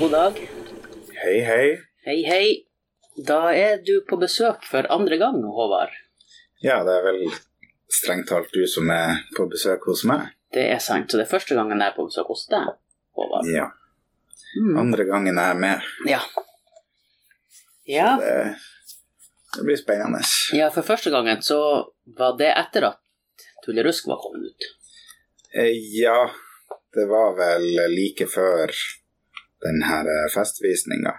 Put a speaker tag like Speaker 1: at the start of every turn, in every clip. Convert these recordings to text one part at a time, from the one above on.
Speaker 1: god dag.
Speaker 2: Hei, hei.
Speaker 1: Hei, hei. Da er du på besøk for andre gang, Håvard.
Speaker 2: Ja, det er vel strengt talt du som er på besøk hos meg.
Speaker 1: Det er sant. Så det er første gangen jeg er på besøk hos deg, Håvard.
Speaker 2: Ja.
Speaker 1: Mm.
Speaker 2: Andre gangen jeg er med.
Speaker 1: Ja. ja.
Speaker 2: Det, det blir spennende.
Speaker 1: Ja, for første gangen så var det etter at Tullerusk var kommet ut.
Speaker 2: Eh, Ja, det var vel like før den her eh, festvisninga.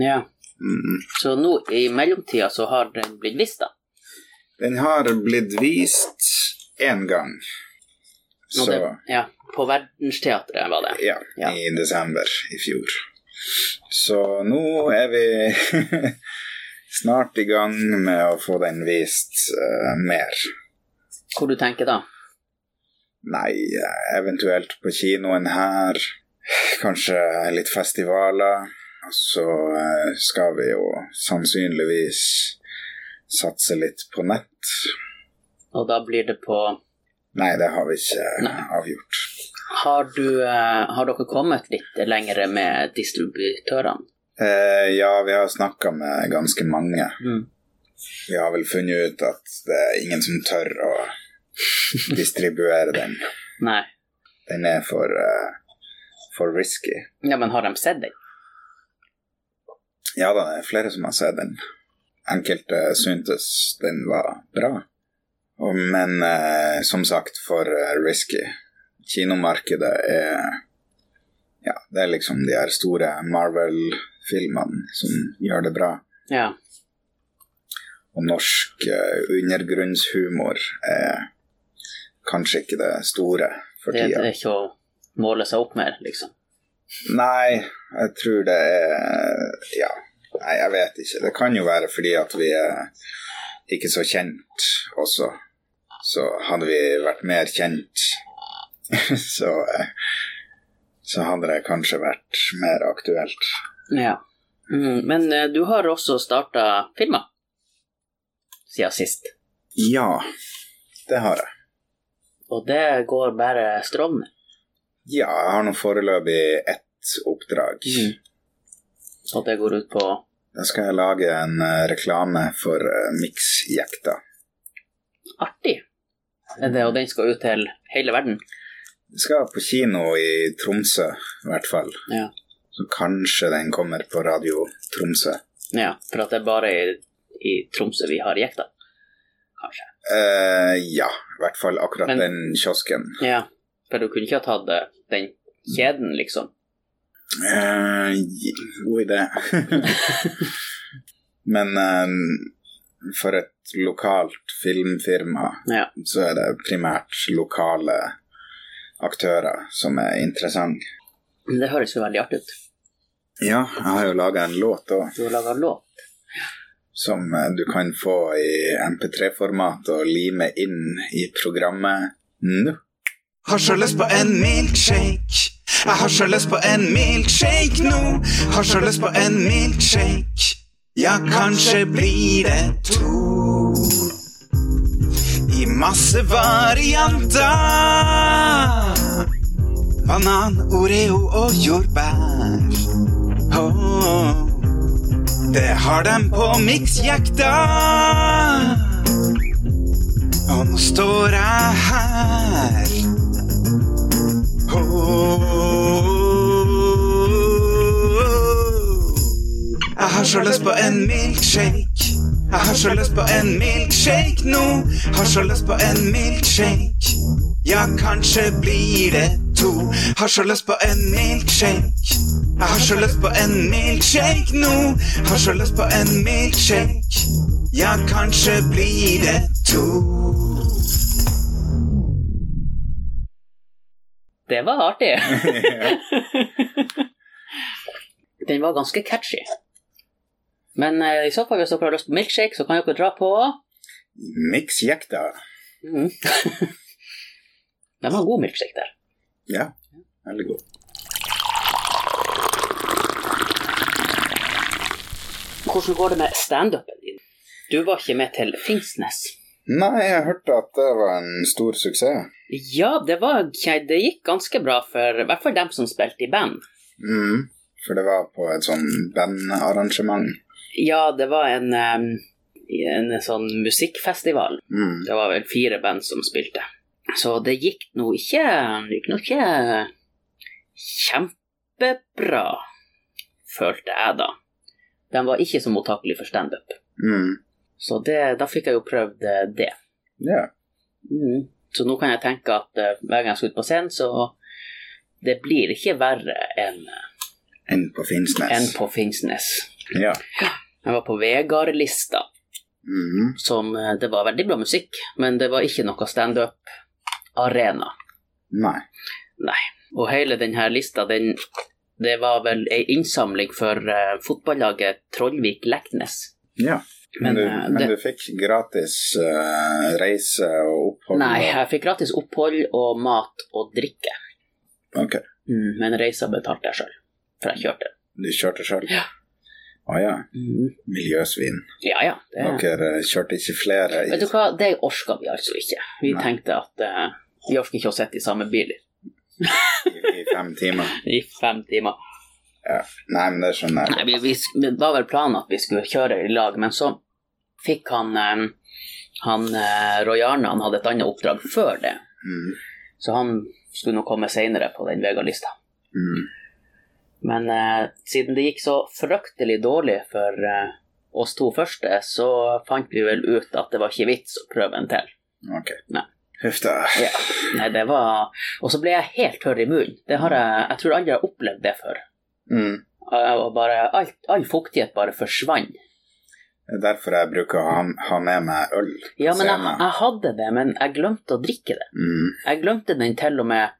Speaker 1: Ja.
Speaker 2: Mm.
Speaker 1: Så nå i mellomtida så har den blitt vist, da.
Speaker 2: Den har blitt vist én gang.
Speaker 1: Nå
Speaker 2: Så
Speaker 1: det, ja, på Verdensteatret var det.
Speaker 2: ja,
Speaker 1: Ja.
Speaker 2: i desember i fjor. Så nå er vi snart i gang med å få den vist eh, mer.
Speaker 1: Hvor du tenker da?
Speaker 2: Nei, eh, eventuelt på kinoen her. Kanskje litt festivaler. Og så eh, skal vi jo sannsynligvis satse litt på nett.
Speaker 1: Og da blir det på
Speaker 2: Nei, det har vi ikke eh,
Speaker 1: Nei.
Speaker 2: avgjort.
Speaker 1: Har, du, eh, har dere kommet litt lengre med distributørene?
Speaker 2: Eh, ja, vi har snakka med ganske mange.
Speaker 1: Mm.
Speaker 2: Vi har vel funnet ut at det er ingen som tør å distribuere den.
Speaker 1: Nei.
Speaker 2: Den er for, eh, for risky.
Speaker 1: Ja, men har de sett den?
Speaker 2: Ja da, det er flere som har sett den. Enkelte syntes den var bra. Og- Men eh, som sagt, for eh, risky. Kinomarkedet er Ja, det er liksom de her store Marvel-filmene som gjør det bra.
Speaker 1: Ja.
Speaker 2: Og norsk eh, undergrunnshumor er kanskje ikke det store for
Speaker 1: Det, det
Speaker 2: tida.
Speaker 1: er ikke å måle seg opp mer, liksom.
Speaker 2: Nei, jeg tror det er Ja, nei, jeg vet ikke. Det kan jo være fordi at vi er ikke så kjent også. Så hadde vi vært mer kjent, så eh, Så hadde det kanskje vært mer aktuelt.
Speaker 1: Ja. Mm, men eh, du har også starta filmer siden sist,
Speaker 2: Ja, det har jeg.
Speaker 1: og det går bare strålende.
Speaker 2: Ja, jeg har nå foreløpig ett oppdrag.
Speaker 1: Mm. Og det går ut på
Speaker 2: Da skal jeg lage en eh, reklame for eh, Mix-jekta.
Speaker 1: artig. Er det- Og den skal ut til hele verden.
Speaker 2: Det skal på kino i Tromsø, i hvert fall.
Speaker 1: Ja.
Speaker 2: Så kanskje den kommer på Radio Tromsø.
Speaker 1: ja for at det er bare i, i Tromsø vi har jekta. Kanskje.
Speaker 2: Eh, ja, i hvert fall akkurat
Speaker 1: Men-
Speaker 2: den kiosken.
Speaker 1: Ja. For du kunne ikke ha tatt eh, den kjeden, liksom.
Speaker 2: Eh, j- god idé. Men eh, for et lokalt filmfirma
Speaker 1: Ja.
Speaker 2: så er det primært lokale aktører som er interessant.
Speaker 1: Men det høres jo veldig artig ut.
Speaker 2: Ja, jeg har jo laga en låt òg.
Speaker 1: Du har laga låt.
Speaker 2: som eh, du kan få i MP3-format og lime inn i programmet nå.
Speaker 3: Har så lyst på en milkshake. Jeg har så lyst på en milkshake nå. Har så lyst på en milkshake. Ja, kanskje blir det to. I masse varianter. Banan, Oreo og jordbær. Åh, Det har dem på miksjekta. Og nå står jeg her. Jeg har så lyst på en milkshake. Jeg har så lyst på en milkshake nå. Har så lyst på en milkshake. Ja, kanskje blir det to. Har så lyst på en milkshake. Jeg har så lyst på en milkshake nå. Har så lyst på en milkshake. Ja, kanskje blir det to.
Speaker 1: Det var artig.
Speaker 2: Ja.
Speaker 1: Den var ganske catchy. Men eh, i så fall, hvis dere har lyst på milkshake, så kan dere dra på
Speaker 2: Miksjekta.
Speaker 1: mm. Den var en god milkshake der.
Speaker 2: Ja, veldig god.
Speaker 1: Hvordan går det med standupen din? Du var ikke med til Finnsnes.
Speaker 2: Nei, jeg hørte at det var en stor suksess.
Speaker 1: Ja, det, var, det gikk ganske bra for i hvert fall dem som spilte i band.
Speaker 2: Mm. For det var på et sånn bandarrangement.
Speaker 1: Ja, det var en, em, en sånn musikkfestival.
Speaker 2: Mm.
Speaker 1: Det var vel fire band som spilte. Så det gikk nå ikke det gikk nå ikke kjempebra, følte jeg da. De var ikke så mottakelige for standup.
Speaker 2: Mm.
Speaker 1: Så det, da fikk jeg jo prøvd eh, det.
Speaker 2: Ja.
Speaker 1: Mm. Så nå kan jeg tenke at eh, hver gang jeg skal ut på scenen, så det blir ikke verre enn
Speaker 2: Enn på Finnsnes.
Speaker 1: enn på Finnsnes.
Speaker 2: Ja.
Speaker 1: Jeg var på Vegard-lista,
Speaker 2: Mhm.
Speaker 1: som eh, Det var veldig bra musikk, men det var ikke noe standup-arena.
Speaker 2: Nei.
Speaker 1: Og hele denne lista, den Det var vel ei innsamling for eh, fotballaget Trollvik-Leknes.
Speaker 2: Ja.
Speaker 1: Men,
Speaker 2: Men, du,
Speaker 1: eh,
Speaker 2: men
Speaker 1: det-
Speaker 2: du fikk gratis eh, reise og opphold?
Speaker 1: Nei,
Speaker 2: og-
Speaker 1: jeg fikk gratis opphold og mat og drikke.
Speaker 2: Ok,
Speaker 1: Mm, men reisa betalte jeg sjøl, for jeg kjørte.
Speaker 2: du kjørte sjøl?
Speaker 1: Ja.
Speaker 2: Å ja.
Speaker 1: Mm.
Speaker 2: Miljøsvin.
Speaker 1: Ja ja. Det,
Speaker 2: Dere eh, kjørte ikke flere i
Speaker 1: Vet du hva, det orka vi altså ikke. Vi
Speaker 2: Nei.
Speaker 1: tenkte at eh, vi orker ikke å sitte i samme bil
Speaker 2: i, i fem timer.
Speaker 1: i fem timer.
Speaker 2: Nei, men det sånn skjønner jeg.
Speaker 1: Nei, vi, vi, sk- det var vel planen at vi skulle kjøre i lag, men så fikk han, eh, han eh, Roy Arne han hadde et annet oppdrag før det,
Speaker 2: Mm.
Speaker 1: så han skulle nå komme seinere på den Vega-lista.
Speaker 2: Mm.
Speaker 1: Men eh, siden det gikk så fryktelig dårlig for eh, oss to første, så fant vi vel ut at det var ikke vits å prøve en til.
Speaker 2: Ok.
Speaker 1: Nei.
Speaker 2: Huff da.
Speaker 1: Ja. Nei, det var Og så ble jeg helt tørr i munnen. Det har jeg Jeg tror aldri jeg har opplevd det før.
Speaker 2: Mm.
Speaker 1: Jeg var bare alt, All fuktighet bare forsvant.
Speaker 2: Det er derfor jeg bruker å ha, ha med meg øl.
Speaker 1: Ja, men jeg,
Speaker 2: Scenen.
Speaker 1: jeg hadde det, men jeg glemte å drikke det.
Speaker 2: Mm.
Speaker 1: Jeg glemte den til og med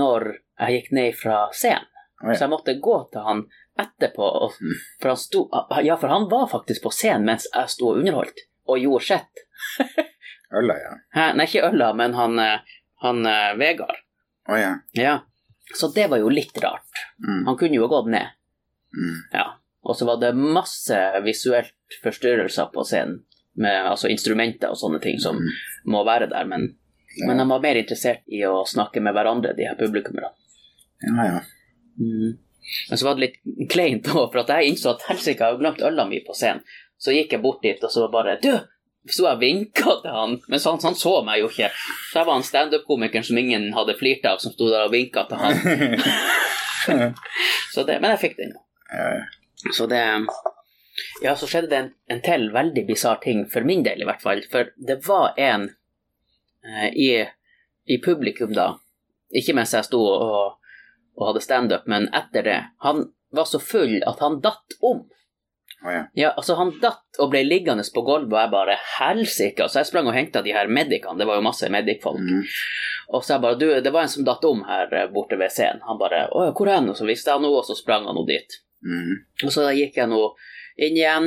Speaker 1: når jeg gikk ned fra scenen.
Speaker 2: Å ja.
Speaker 1: Så jeg måtte gå til han etterpå, og,
Speaker 2: Mm.
Speaker 1: for han sto Ja, for han var faktisk på scenen mens jeg sto og underholdt, og gjorde sitt.
Speaker 2: Øla, ja.
Speaker 1: Hæ? Nei, ikke Ølla, men han, eh, han eh, Vegard.
Speaker 2: Å ja.
Speaker 1: Ja. Så det var jo litt rart.
Speaker 2: Mm.
Speaker 1: Han kunne jo ha gått ned.
Speaker 2: Mm.
Speaker 1: Ja. Og så var det masse visuelt forstyrrelser på scenen, med altså instrumenter og sånne ting som
Speaker 2: Mm.
Speaker 1: må være der, men,
Speaker 2: Ja.
Speaker 1: men de var mer interessert i å snakke med hverandre, de her publikummerne.
Speaker 2: Ja, ja.
Speaker 1: Mm. Men så var det litt kleint òg, for at jeg innså at helsike, jeg har jo glemt øla mi på scenen. Så gikk jeg bort dit, og så var bare Du! Så jeg vinka til han, men så han, han så meg jo ikke. Så jeg var han standup-komikeren som ingen hadde flirt av, som sto der og vinka til han. Så det, men jeg fikk den.
Speaker 2: ja, ja.
Speaker 1: Så det Ja, så skjedde det en, en til veldig bisarr ting, for min del i hvert fall. For det var en eh, i, i publikum da, ikke mens jeg sto og, og hadde standup, men etter det, han var så full at han datt om.
Speaker 2: Å ja.
Speaker 1: Ja, altså Han datt og ble liggende på gulvet, og jeg bare helsike. Så jeg sprang og henta de her medicene, det var jo masse medic-folk.
Speaker 2: Mm.
Speaker 1: Og så jeg bare, du, det var en som datt om her eh, borte ved scenen. Han bare, å ja, hvor er han? Og så visste jeg noe, og så sprang han nå dit.
Speaker 2: Mm.
Speaker 1: Og så gikk jeg nå inn igjen,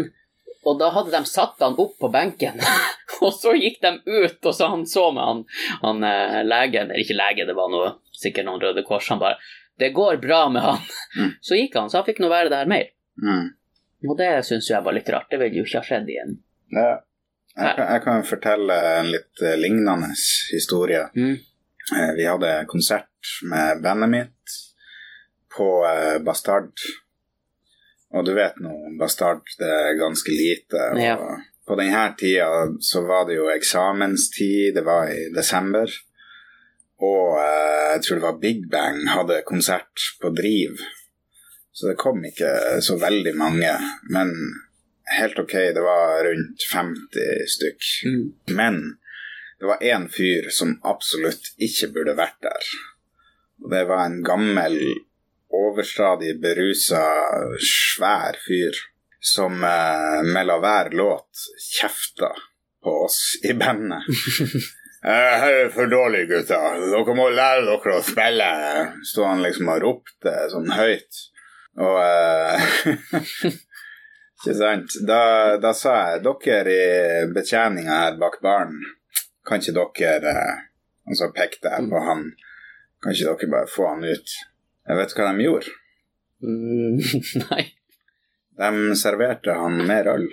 Speaker 1: og da hadde de satt han opp på benken. og så gikk de ut, og så han så meg, han, han eh, legen, eller ikke lege, det var noe, sikkert noen Røde Kors, han bare 'Det går bra med han'.
Speaker 2: Mm.
Speaker 1: Så gikk han, så han fikk nå være der mer.
Speaker 2: Mm.
Speaker 1: Og det syns jo jeg var litt rart, det ville jo ikke ha skjedd igjen.
Speaker 2: Ja. Jeg, kan, jeg kan fortelle en litt eh, lignende historie.
Speaker 1: Mm.
Speaker 2: Eh, Vi hadde konsert med bandet mitt på eh, Bastard. Og du vet nå, Bastard det er ganske lite. Og
Speaker 1: Ja.
Speaker 2: På denne tida så var det jo eksamenstid, det var i desember. Og eh, jeg tror det var Big Bang hadde konsert på Driv. Så det kom ikke så veldig mange, men helt ok, det var rundt 50 stykk.
Speaker 1: Mm.
Speaker 2: Men det var én fyr som absolutt ikke burde vært der. Og det var en gammel, overstadig berusa, svær fyr som eh, mellom hver låt kjefta på oss i bandet. Eh, her er for dårlig, gutta. Dere må lære dere å spille. Sto han liksom og ropte sånn høyt. Og eh, Ikke sant. Da, da sa jeg dere i betjeninga her bak baren, kan ikke dere eh, Og så pekte jeg på han. Kan ikke dere bare få han ut? Jeg vet hva de gjorde.
Speaker 1: Mm. Nei.
Speaker 2: De serverte han mer øl.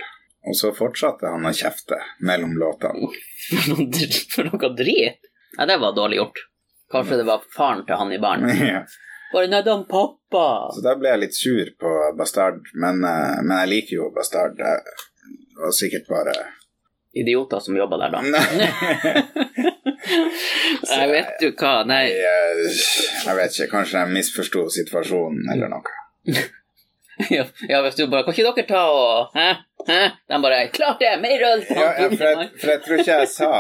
Speaker 2: Og så fortsatte han å kjefte mellom låtene.
Speaker 1: For noe,
Speaker 2: Mm.
Speaker 1: dr- for noe drit. Nei, det var dårlig gjort. Kanskje det var faren til han i baren.
Speaker 2: Ja.
Speaker 1: Bare nei, da, pappa.
Speaker 2: Så da ble jeg litt sur på Bastard, men, eh, men jeg liker jo Bastard. Jeg var sikkert bare
Speaker 1: Idioter som jobber der, da.
Speaker 2: Nei,
Speaker 1: Jeg vet du hva, nei.
Speaker 2: jeg, jeg vet ikke. Kanskje jeg misforsto situasjonen eller noe.
Speaker 1: Ja, ja, hvis du bare Kan ikke dere ta og Hæ? Hæ? De bare Klart det! Mer øl!
Speaker 2: Ja, ja, for, jeg, for jeg tror ikke jeg sa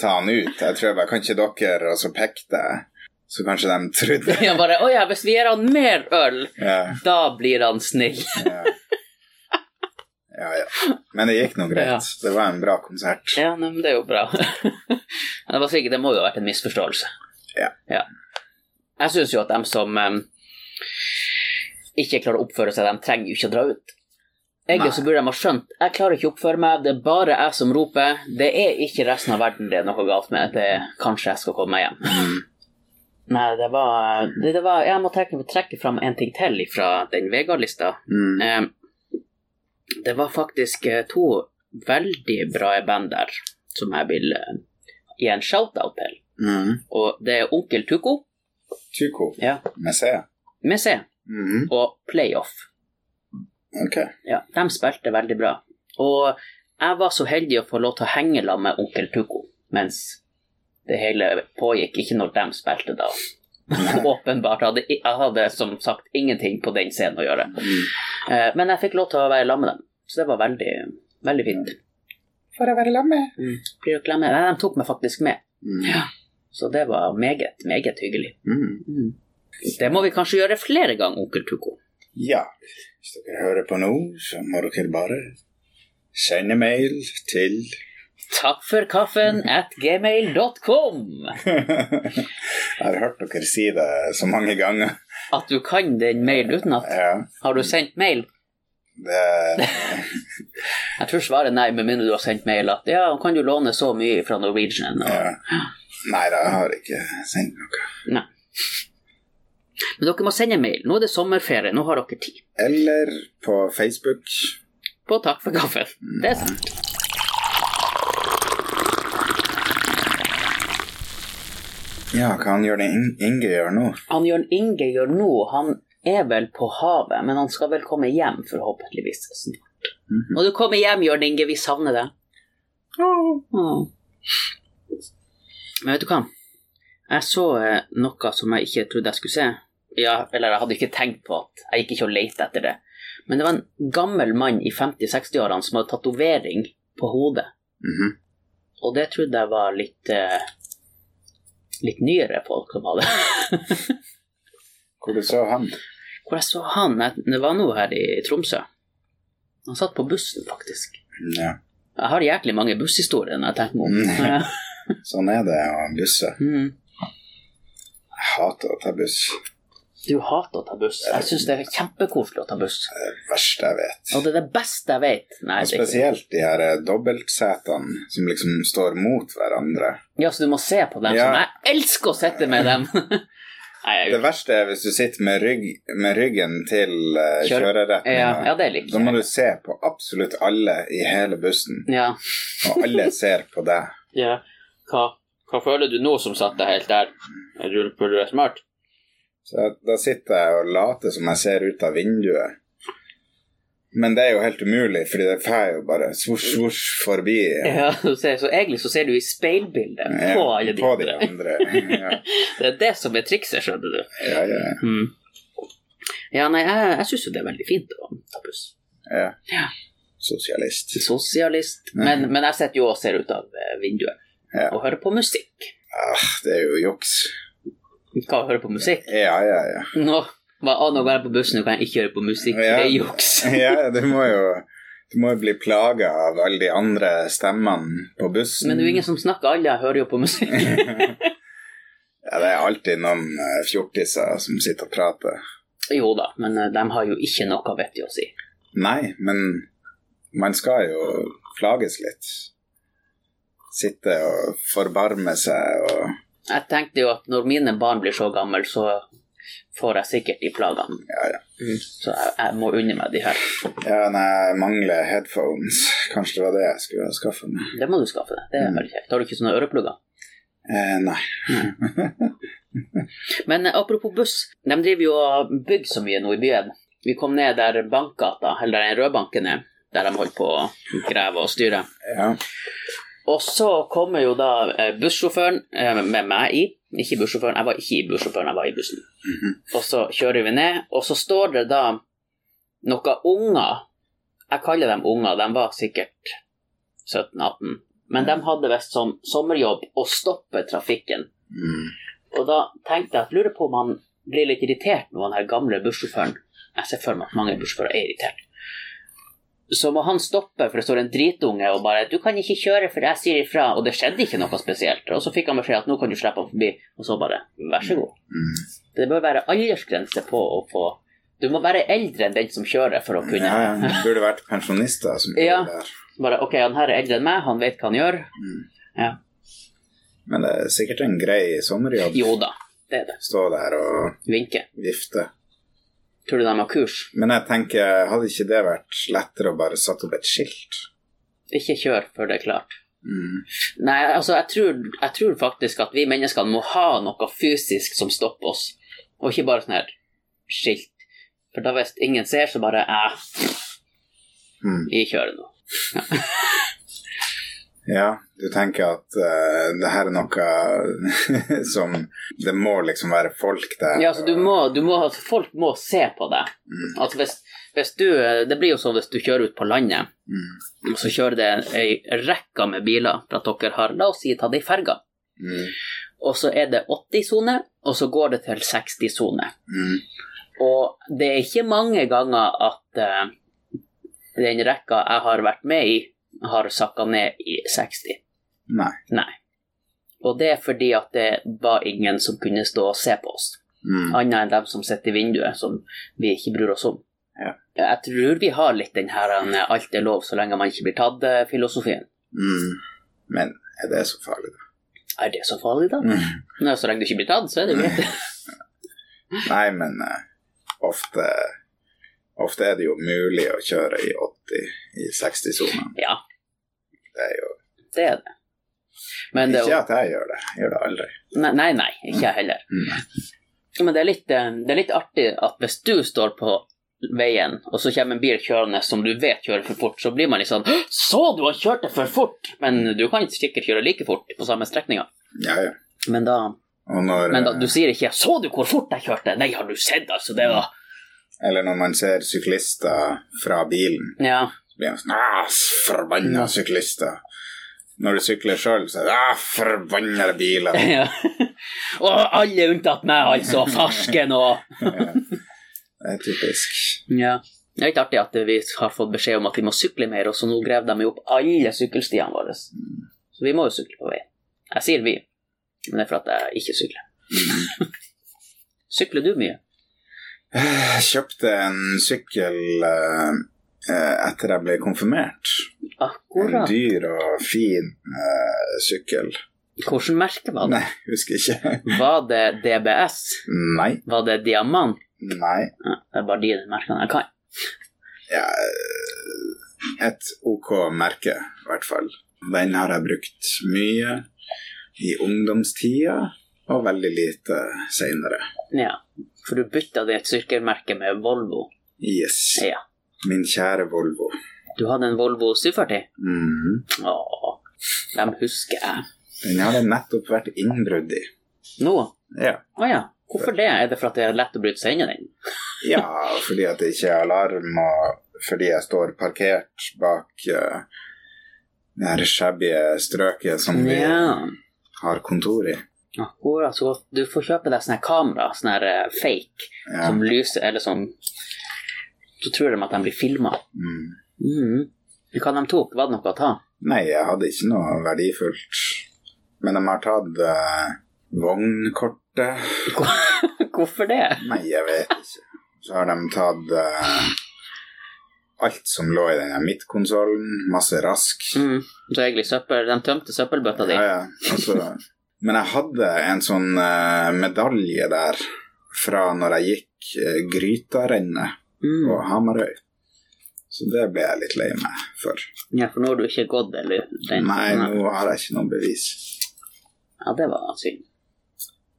Speaker 2: ta han ut. Jeg tror jeg bare Kan ikke dere Og så pekte jeg. Så kanskje de trodde
Speaker 1: Ja, bare Å ja, hvis vi gir han mer øl,
Speaker 2: ja,
Speaker 1: da blir han snill.
Speaker 2: ja. ja, ja. Men det gikk nå
Speaker 1: Ja.
Speaker 2: greit. Det var en bra konsert.
Speaker 1: Ja, nei, men det er jo bra. Men det, var sikkert, det må jo ha vært en misforståelse.
Speaker 2: Ja.
Speaker 1: Jeg syns jo at dem som em, ikke klarer å oppføre seg, de trenger jo ikke å dra ut.
Speaker 2: Nei.
Speaker 1: Egentlig så burde de ha skjønt jeg klarer ikke å oppføre meg, det er bare jeg som roper. Det er ikke resten av verden det er noe galt med. Det er kanskje jeg skal komme meg hjem.
Speaker 2: Mm.
Speaker 1: Nei, det var, det, det var Jeg må trekke, trekke fram en ting til fra den Vegard-lista.
Speaker 2: Mm.
Speaker 1: Eh, Det var faktisk eh, to veldig bra band der som jeg vil eh, gi en shout-out til.
Speaker 2: Mm.
Speaker 1: Og det er Onkel Tuko
Speaker 2: Tuko
Speaker 1: ja.
Speaker 2: med C.
Speaker 1: med C
Speaker 2: Mm.
Speaker 1: og Playoff.
Speaker 2: Ok.
Speaker 1: Ja, de spilte veldig bra. Og jeg var så heldig å få lov til å henge sammen med Onkel Tuko mens det hele pågikk, ikke når de spilte da. Åpenbart. Jeg hadde, jeg hadde som sagt ingenting på den scenen å gjøre.
Speaker 2: Mm.
Speaker 1: Eh, Men jeg fikk lov til å være sammen med dem, så det var veldig, veldig fint.
Speaker 2: Får jeg være sammen med?
Speaker 1: Blir dere glemme? Nei, de tok meg faktisk med.
Speaker 2: Mm.
Speaker 1: Så det var meget, meget hyggelig.
Speaker 2: Mm.
Speaker 1: Det må vi kanskje gjøre flere ganger, onkel Tuko.
Speaker 2: Ja, hvis dere hører på nå, så må dere bare sende mail til
Speaker 1: Takk for kaffen at gmail.com.
Speaker 2: Jeg har hørt dere si det så mange ganger.
Speaker 1: At du kan den mailen utenat.
Speaker 2: Ja,
Speaker 1: Har du sendt mail?
Speaker 2: det,
Speaker 1: Jeg tror svaret er nei, med mindre du har sendt mail at ja, kan du låne så mye fra Norwegian? Og...
Speaker 2: ja. Nei da, jeg har ikke sendt noe.
Speaker 1: Nei. Men dere må sende mail. Nå er det sommerferie, nå har dere tid.
Speaker 2: Eller på Facebook.
Speaker 1: På takk for kaffen. Det er sant.
Speaker 2: Ja, hva han gjør det In Inge gjør nå?
Speaker 1: Han Jørn Inge gjør nå, han er vel på havet, men han skal vel komme hjem forhåpentligvis snart. Må du komme hjem, Jørn Inge, vi savner deg. Åh. Men vet du hva? Jeg så eh, noe som jeg ikke trodde jeg skulle se. Ja, eller jeg hadde ikke tenkt på at jeg gikk ikke og lette etter det. Men det var en gammel mann i 50-60-årene som hadde tatovering på hodet.
Speaker 2: Mhm.
Speaker 1: Og det trodde jeg var litt eh, litt nyere folk som hadde
Speaker 2: Hvor du så han?
Speaker 1: Hvor jeg så han, jeg- det var nå her i Tromsø. Han satt på bussen, faktisk.
Speaker 2: Ja,
Speaker 1: Jeg har jæklig mange busshistorier når jeg tenker meg om.
Speaker 2: Mm.
Speaker 1: Ja.
Speaker 2: sånn er det å busse.
Speaker 1: Mm.
Speaker 2: Jeg hater å ta buss.
Speaker 1: Du hater å ta buss. Jeg syns det er kjempekoselig å ta buss.
Speaker 2: Det verste jeg vet.
Speaker 1: Og det er det beste jeg vet. Nei,
Speaker 2: Og
Speaker 1: det er ikke.
Speaker 2: spesielt de her eh, dobbeltsetene som liksom står mot hverandre.
Speaker 1: Ja, så du må se på dem.
Speaker 2: Ja.
Speaker 1: Sånn. Jeg elsker å sitte med dem! Nei, jeg,
Speaker 2: Det verste er hvis du sitter med, rygg, med ryggen til uh,
Speaker 1: Kjør-
Speaker 2: kjøreretninga.
Speaker 1: ja, ja, det liker
Speaker 2: Da må
Speaker 1: jeg.
Speaker 2: du se på absolutt alle i hele bussen,
Speaker 1: Ja.
Speaker 2: og alle ser på deg.
Speaker 1: ja. Hva, hva føler du nå som satt deg helt der? Rullepulver er smart.
Speaker 2: Så jeg- da sitter jeg og later som jeg ser ut av vinduet. Men det er jo helt umulig, fordi det fer jo bare svosj, svosj forbi.
Speaker 1: Ja, du ser, så egentlig så ser du i speilbildet
Speaker 2: Ja,
Speaker 1: på alle de
Speaker 2: på de
Speaker 1: andre.
Speaker 2: andre. Ja,
Speaker 1: Det er det som er trikset, skjønner du.
Speaker 2: ja, ja,
Speaker 1: Mm. Ja, nei, jeg, jeg syns jo det er veldig fint å ta buss.
Speaker 2: ja.
Speaker 1: Ja.
Speaker 2: Sosialist.
Speaker 1: Sosialist. Men, men jeg sitter jo og ser ut av eh, vinduet
Speaker 2: Ja.
Speaker 1: og hører på musikk.
Speaker 2: Ah, det er jo juks.
Speaker 1: Hva hører på musikk?
Speaker 2: Ja, ja, ja.
Speaker 1: Nå, hva, å, nå går jeg på bussen, nå kan jeg ikke høre på musikk.
Speaker 2: Ja.
Speaker 1: Det er juks.
Speaker 2: Ja, du må jo du må jo bli plaga av alle de andre stemmene på bussen.
Speaker 1: Men det er jo ingen som snakker, alle hører jo på musikk.
Speaker 2: Ja, det er alltid noen eh, fjortiser som sitter og prater.
Speaker 1: Jo da, men eh, de har jo ikke noe vettig å si.
Speaker 2: Nei, men man skal jo plages litt. Sitte og forbarme seg og
Speaker 1: Jeg tenkte jo at når mine barn blir så gamle, så får jeg sikkert de plagene.
Speaker 2: Ja, ja.
Speaker 1: Så jeg, jeg må unne meg de her.
Speaker 2: ja nei, jeg mangler headphones. Kanskje det var det jeg skulle ha skaffa meg. Mm.
Speaker 1: Det må du skaffe deg. Det er veldig kjekt. Har du ikke sånne øreplugger?
Speaker 2: Eh, nei.
Speaker 1: Men eh, apropos buss, de driver jo og bygger så mye nå i byen. Vi kom ned der Bankgata, eller der den røde banken er, der de holder på å grave og styre.
Speaker 2: Ja.
Speaker 1: Og så kommer jo da eh, bussjåføren eh, med meg i. Ikke bussjåføren, jeg var ikke i bussjåføren, jeg var i bussen. Og så kjører vi ned, og så står det da noen unger. Jeg kaller dem unger, de var sikkert 17-18. Men de hadde visst som sommerjobb å stoppe trafikken.
Speaker 2: Mm.
Speaker 1: Og da tenkte jeg at lurer på om han blir litt irritert når han her gamle bussjåføren Jeg ser for meg at mange bussjåfører er irritert. Så må han stoppe, for det står en dritunge og bare 'Du kan ikke kjøre, for jeg sier ifra.' Og det skjedde ikke noe spesielt. Og så fikk han beskjed at 'nå kan du slippe han forbi', og så bare 'vær så god'.
Speaker 2: Mm.
Speaker 1: Det bør være aldersgrense på å få Du må være eldre enn den som kjører, for å kunne
Speaker 2: Ja, ja. Det burde vært pensjonister som gjorde
Speaker 1: Ja.
Speaker 2: det der.
Speaker 1: Bare 'ok, han her er eldre enn meg, han vet hva han gjør'.
Speaker 2: Mm. Men det er sikkert en grei sommerjobb.
Speaker 1: Jo da, det er det.
Speaker 2: Stå der og
Speaker 1: Vinke.
Speaker 2: vifte.
Speaker 1: Tror du de har kurs?
Speaker 2: Men jeg tenker, hadde ikke det vært lettere å bare satt opp et skilt?
Speaker 1: Ikke kjør før det er klart.
Speaker 2: Mm.
Speaker 1: Nei, altså, jeg tror, jeg tror faktisk at vi menneskene må ha noe fysisk som stopper oss, og ikke bare sånn her skilt. For da hvis ingen ser, så bare eh,
Speaker 2: Mm.
Speaker 1: vi kjører nå.
Speaker 2: Ja, du tenker at eh, det her er noe som Det må liksom være folk der.
Speaker 1: Ja, altså, du må, du må, altså, folk må se på deg.
Speaker 2: Mm.
Speaker 1: Altså, hvis, hvis du Det blir jo sånn hvis du kjører ut på landet,
Speaker 2: Mm.
Speaker 1: og så kjører det ei rekke med biler for at dere har La oss si ta det i ferga,
Speaker 2: Mm.
Speaker 1: og så er det 80-sone, og så går det til 60-sone.
Speaker 2: Mm.
Speaker 1: Og det er ikke mange ganger at eh, den rekka jeg har vært med i, har sakka ned i 60.
Speaker 2: Nei.
Speaker 1: Nei. Og det er fordi at det var ingen som kunne stå og se på oss,
Speaker 2: Mm.
Speaker 1: annet enn dem som sitter i vinduet, som vi ikke bryr oss om.
Speaker 2: Ja.
Speaker 1: Jeg tror vi har litt den her eh, 'alt er lov så lenge man ikke blir eh, tatt'-filosofien.
Speaker 2: Mm. Men er det så farlig, da?
Speaker 1: Er det så farlig, da?
Speaker 2: Mm.
Speaker 1: Nei, så lenge du ikke blir tatt, så er det jo greit.
Speaker 2: Nei, men eh, ofte Ofte er det jo mulig å kjøre i 80 i 60-sonen.
Speaker 1: Ja,
Speaker 2: Det er jo
Speaker 1: det er det. Men det er jo-
Speaker 2: Ikke at jeg gjør det. Jeg gjør det aldri. Mm.
Speaker 1: Nei, nei, nei ikke jeg heller. Men det er, litt, eh, det er litt artig at hvis du står på veien, og så kommer en bil kjørende som du vet kjører for fort, så blir man litt sånn «Hå! Så du han kjørte for fort! Men du kan sikkert kjøre like fort på samme strekninga.
Speaker 2: Ja, ja.
Speaker 1: Men da,
Speaker 2: Og når,
Speaker 1: men da du sier ikke 'så du hvor fort jeg kjørte'? Nei, har du sett, altså? Det var
Speaker 2: eh, Eller når man ser syklister fra bilen,
Speaker 1: Ja.
Speaker 2: så blir man sånn ah, Forbanna syklister. Når du sykler sjøl, så er det ah, forbanna biler.
Speaker 1: ja. og alle unntatt meg, altså. Farsken og
Speaker 2: Det er typisk.
Speaker 1: Ja. Det er litt artig at vi har fått beskjed om at vi må sykle mer, og så nå graver de jo opp alle sykkelstiene våre. Så vi må jo sykle på veien. Jeg sier vi, men det er for at jeg ikke sykler. Sykler du mye?
Speaker 2: Jeg kjøpte en sykkel eh, eh, etter jeg ble konfirmert. En
Speaker 1: Akkurat.
Speaker 2: dyr og fin eh, sykkel.
Speaker 1: Hvilket merke var det?
Speaker 2: Nei, husker ikke.
Speaker 1: Var det DBS?
Speaker 2: Nei.
Speaker 1: Var det Diamant?
Speaker 2: Nei.
Speaker 1: Ja, Det er bare de merkene jeg kan.
Speaker 2: Ja, eh, et ok merke, i hvert fall. Den har jeg brukt mye i ungdomstida, og veldig lite seinere.
Speaker 1: Ja. For du bytta ditt sykkelmerke med Volvo.
Speaker 2: Yes.
Speaker 1: Ja.
Speaker 2: Min kjære Volvo.
Speaker 1: Du hadde en Volvo 740?
Speaker 2: Mhm.
Speaker 1: Åh, dem husker jeg.
Speaker 2: Den har det nettopp vært innbrudd i.
Speaker 1: Nå?
Speaker 2: Ja.
Speaker 1: Å ja. Hvorfor det? Er det for at det er lett å bryte seg inn i den?
Speaker 2: ja, fordi at det ikke er alarm, og fordi jeg står parkert bak eh, det her shabby strøket som vi
Speaker 1: Ja,
Speaker 2: har kontor i.
Speaker 1: akkurat. Så godt. altså, du får kjøpe deg sånne her kamera, sånne her eh, fake,
Speaker 2: Ja.
Speaker 1: som lyser, eller sånn Så tror de at de blir filma.
Speaker 2: Mm.
Speaker 1: Mm. Hva de tok? Var det noe å ta?
Speaker 2: Nei, jeg hadde ikke noe verdifullt. Men de har tatt eh, vognkortet.
Speaker 1: Hvorfor det?
Speaker 2: Nei, jeg vet ikke. Så har de tatt eh, alt som lå i denne midtkonsollen. Masse rask.
Speaker 1: Mm. Så egentlig søppel, De tømte søppelbøtta di.
Speaker 2: Ja, ja. Altså, men jeg hadde en sånn eh, medalje der fra når jeg gikk eh, Grytarennet på
Speaker 1: Mm.
Speaker 2: Hamarøy. Så det ble jeg litt lei meg for.
Speaker 1: ja, for nå har du ikke gått, eller den
Speaker 2: Nei, nå har jeg ikke noe bevis.
Speaker 1: Ja, det var synd.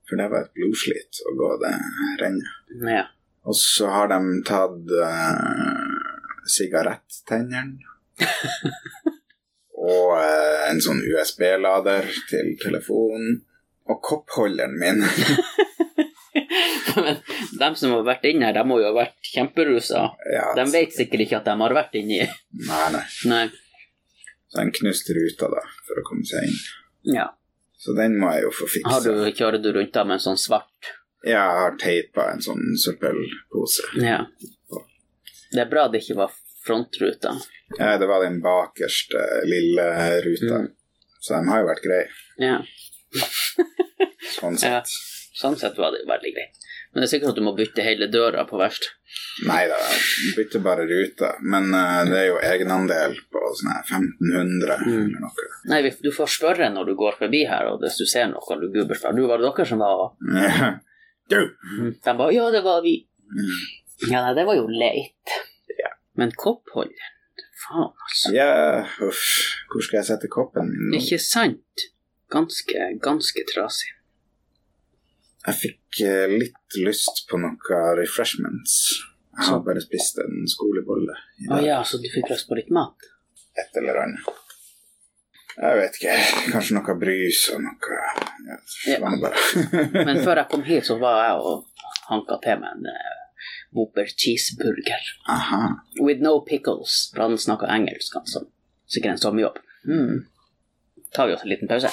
Speaker 2: For det var et blodslit å gå det rennet.
Speaker 1: Ja.
Speaker 2: Og så har de tatt uh, sigarettennene. og eh, en sånn USB-lader til telefonen. Og koppholderen min.
Speaker 1: Men de som har vært inne her, de må jo ha vært kjemperusa.
Speaker 2: ja,
Speaker 1: De vet sikkert ikke at de har vært inni.
Speaker 2: Nei, nei.
Speaker 1: Nei.
Speaker 2: Så den knuste ruta, da, for å komme seg inn.
Speaker 1: Ja.
Speaker 2: Så den må jeg jo få fiksa.
Speaker 1: Har du, kjører du rundt da med en sånn svart
Speaker 2: Ja, Jeg har teipa en sånn søppelpose.
Speaker 1: Ja. Det er bra det ikke var frontruta.
Speaker 2: Ja, det var den bakerste lille ruta.
Speaker 1: Mm.
Speaker 2: Så de har jo vært greie,
Speaker 1: Ja.
Speaker 2: sånn
Speaker 1: Ja.
Speaker 2: sett.
Speaker 1: Sånn sett var det jo veldig greit. Men det er sikkert at du må bytte hele døra på verst.
Speaker 2: Nei da, bytter bare ruta. Men eh, det er jo egenandel på sånn her 1500
Speaker 1: Mm.
Speaker 2: eller noe.
Speaker 1: Nei, vi- du får spørre når du går forbi her, og hvis du ser noe lugubert fra Du, var det dere som var
Speaker 2: du!
Speaker 1: De bare Ja, det var vi.
Speaker 2: Mm.
Speaker 1: Ja, nei, det var jo leit. Men koppholderen Faen, altså.
Speaker 2: Ja, uff. Hvor skal jeg sette koppen min nå?
Speaker 1: Ikke sant? Ganske, ganske trasig.
Speaker 2: Jeg fikk eh, litt lyst på noe refreshments. Jeg har bare spist en skolebolle i
Speaker 1: Å
Speaker 2: dag.
Speaker 1: ja, så du fikk lyst på litt mat?
Speaker 2: et eller annet. Jeg vet ikke. Kanskje noe brys og noe ja,
Speaker 1: Ja.
Speaker 2: sånn bare.
Speaker 1: Men før jeg kom hit, så var jeg og hanka til meg en uh, Whopper cheeseburger.
Speaker 2: Aha.
Speaker 1: With no pickles, for han snakka engelsk, han som sikkert en sommerjobb. Mm. Tar vi oss en liten pause?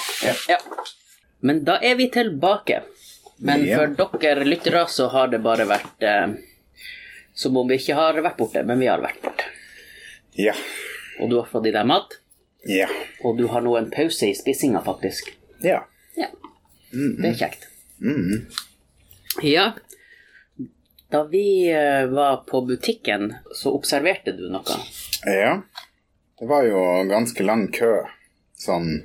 Speaker 2: Ja.
Speaker 1: Men da er vi tilbake. Men
Speaker 2: Ja.
Speaker 1: for dere lyttere så har det bare vært eh, som om vi ikke har vært borte, men vi har vært borte.
Speaker 2: Ja.
Speaker 1: Og du har fått i deg mat,
Speaker 2: Ja.
Speaker 1: og du har nå en pause i spissinga, faktisk.
Speaker 2: Ja.
Speaker 1: Ja.
Speaker 2: Mm-hmm.
Speaker 1: Det er kjekt. Ja. Da vi eh, var på butikken, så observerte du noe.
Speaker 2: ja. Det var jo ganske lang kø. Sånn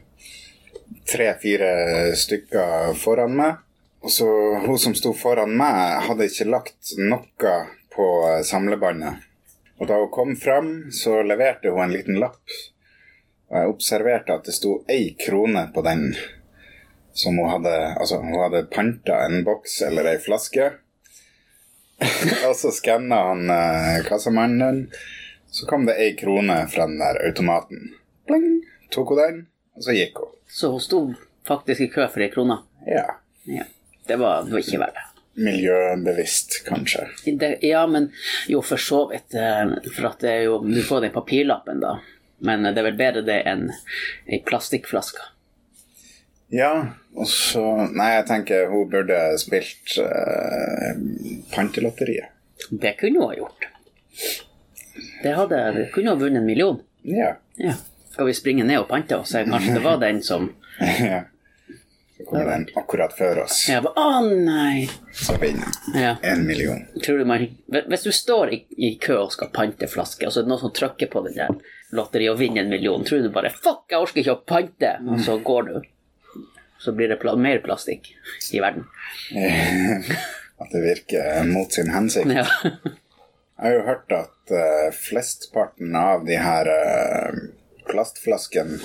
Speaker 2: tre-fire stykker foran meg. Og så hun som sto foran meg, hadde ikke lagt noe på samlebåndet. Og da hun kom fram, så leverte hun en liten lapp. Og jeg observerte at det sto ei krone på den. Som hun hadde Altså, hun hadde panta en boks eller ei flaske. og så skanna han eh, kassamannen. Så kom det ei krone fra den der automaten. Pling! Tok hun den, og så gikk hun.
Speaker 1: Så hun sto faktisk i kø for ei krone.
Speaker 2: Ja.
Speaker 1: Ja. Det var, det var ikke verre.
Speaker 2: Miljøbevisst, kanskje.
Speaker 1: Det, ja, men jo, for så vidt. eh, For at det er jo Du får den papirlappen, da. Men eh, det er vel bedre det enn ei plastikkflaske.
Speaker 2: Ja, og så Nei, jeg tenker hun burde spilt eh, Pantelotteriet.
Speaker 1: Det kunne hun ha gjort. Det hadde, det kunne hun ha vunnet en million.
Speaker 2: Ja.
Speaker 1: Ja. Skal vi springe ned og pante og se? Kanskje det var den som
Speaker 2: ja. Så kommer den akkurat før oss,
Speaker 1: Jeg bare, Å, nei!
Speaker 2: så vinner
Speaker 1: Ja.
Speaker 2: en million.
Speaker 1: Tror du man, hvis du står i, i kø og skal pante flaske, og så er det noen som trykker på den der lotteriet og vinner en million, tror du bare 'fuck, jeg orker ikke å pante', og så går du. Så blir det pla mer plastikk i verden.
Speaker 2: At det virker mot sin hensikt.
Speaker 1: Ja.
Speaker 2: Jeg har jo hørt at eh, flestparten av de her eh, plastflaskene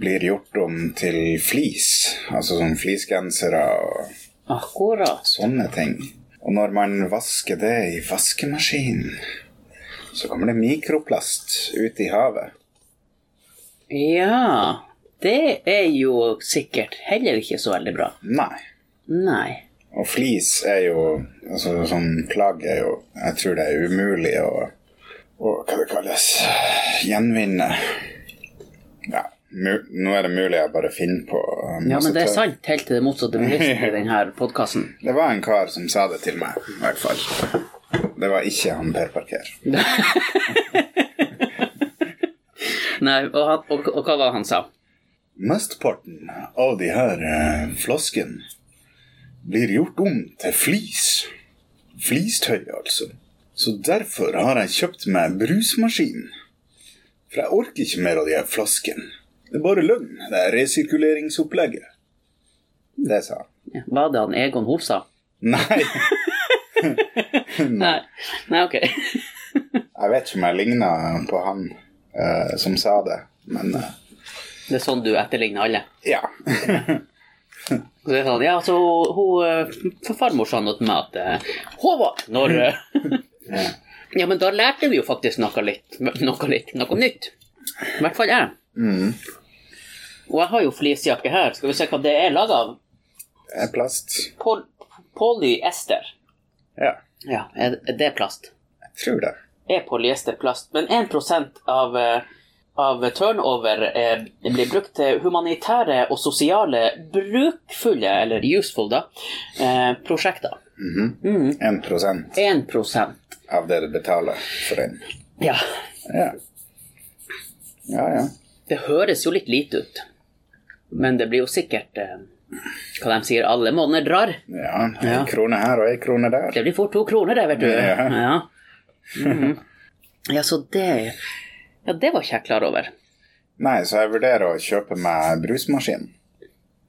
Speaker 2: blir gjort om til flis, altså som fleecegensere og
Speaker 1: Akkurat.
Speaker 2: sånne ting. Og når man vasker det i vaskemaskinen, så kommer det mikroplast ut i havet.
Speaker 1: Ja. Det er jo sikkert heller ikke så veldig bra.
Speaker 2: Nei.
Speaker 1: Nei.
Speaker 2: Og flis er jo Altså sånn plagg er jo Jeg tror det er umulig å å, Hva det kalles Gjenvinne. Ja. Mu, nå er det mulig jeg bare finner på masse
Speaker 1: Ja, men det er
Speaker 2: tøv.
Speaker 1: sant helt til det motsatte bevisst i denne podkasten.
Speaker 2: Det var en kar som sa det til meg, i hvert fall. Det var ikke han Per Parker.
Speaker 1: Nei, og, han, og, og hva var det han sa?
Speaker 2: Mesteparten av de her eh, flaskene blir gjort om til flis. Flistøy, altså. Så derfor har jeg kjøpt meg brusmaskin. For jeg orker ikke mer av de her flaskene. Det er bare løgn, det er resirkuleringsopplegget. Det sa han.
Speaker 1: Var det han Egon Hol sa?
Speaker 2: Nei,
Speaker 1: Nei. Nei, ok.
Speaker 2: jeg vet ikke om jeg ligna på han eh, som sa det, men eh,
Speaker 1: Det er sånn du etterligner alle?
Speaker 2: ja.
Speaker 1: Så det er sånn, ja, så hun, eh, for farmor sa noe til meg at eh, Håvard, når eh, Ja, men da lærte vi jo faktisk noe litt, noe litt, noe nytt. I hvert fall jeg.
Speaker 2: Mm.
Speaker 1: Og jeg har jo fleecejakke her, skal vi se hva det er laga av?
Speaker 2: Det er plast.
Speaker 1: Pol polyester.
Speaker 2: Ja,
Speaker 1: Ja, er er det plast?
Speaker 2: jeg tror det.
Speaker 1: Er polyester plast? Men 1 av, eh, av turnover eh, blir brukt til humanitære og sosiale brukfulle, eller useful, da, eh, prosjekter. Mm.
Speaker 2: 1
Speaker 1: 1
Speaker 2: av det du betaler for den.
Speaker 1: Ja.
Speaker 2: Ja. Ja, ja.
Speaker 1: Det høres jo litt lite ut, men det blir jo sikkert eh, hva de sier, alle måneder drar.
Speaker 2: ja en
Speaker 1: Ja.
Speaker 2: krone her og en krone der.
Speaker 1: Det blir fort to kroner, det, vet du.
Speaker 2: Ja.
Speaker 1: Ja, Mhm. ja så det Ja, det var ikke jeg klar over.
Speaker 2: Nei, så jeg vurderer å kjøpe meg brusmaskin.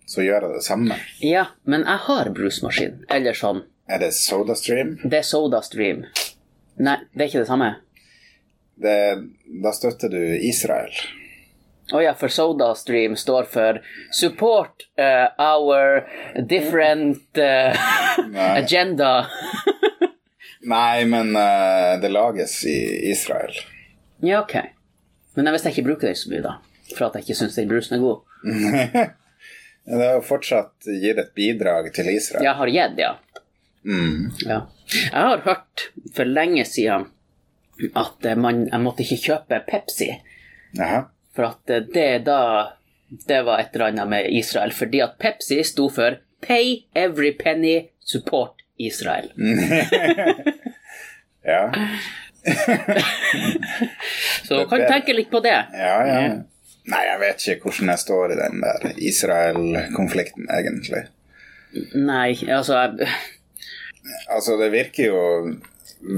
Speaker 2: Så gjør jeg det samme.
Speaker 1: Ja, men jeg har brusmaskin, eller sånn.
Speaker 2: Er det SodaStream?
Speaker 1: Det er SodaStream. Nei, det er ikke det samme.
Speaker 2: Det, da støtter du Israel.
Speaker 1: Å ja, for SodaStream står for Support eh, our different eh,
Speaker 2: Nei.
Speaker 1: agenda.
Speaker 2: Nei, men eh, det lages i Israel.
Speaker 1: Ja, ok. Men hvis jeg ikke bruker den så mye, da? For at jeg ikke syns den brusen er god?
Speaker 2: Det er jo fortsatt gitt et bidrag til Israel.
Speaker 1: Jeg har gitt, ja.
Speaker 2: Mm.
Speaker 1: ja. Jeg har hørt for lenge siden at eh, man, jeg måtte ikke kjøpe Pepsi,
Speaker 2: Jaha.
Speaker 1: for at eh, det da Det var et eller annet med Israel, fordi at Pepsi sto for Pay every penny, support Israel.
Speaker 2: Ja.
Speaker 1: Så kan du tenke litt på det.
Speaker 2: ja, ja. Nei, jeg vet ikke hvordan jeg står i den der Israel-konflikten, egentlig.
Speaker 1: Nei, altså jeg-
Speaker 2: Altså, det virker jo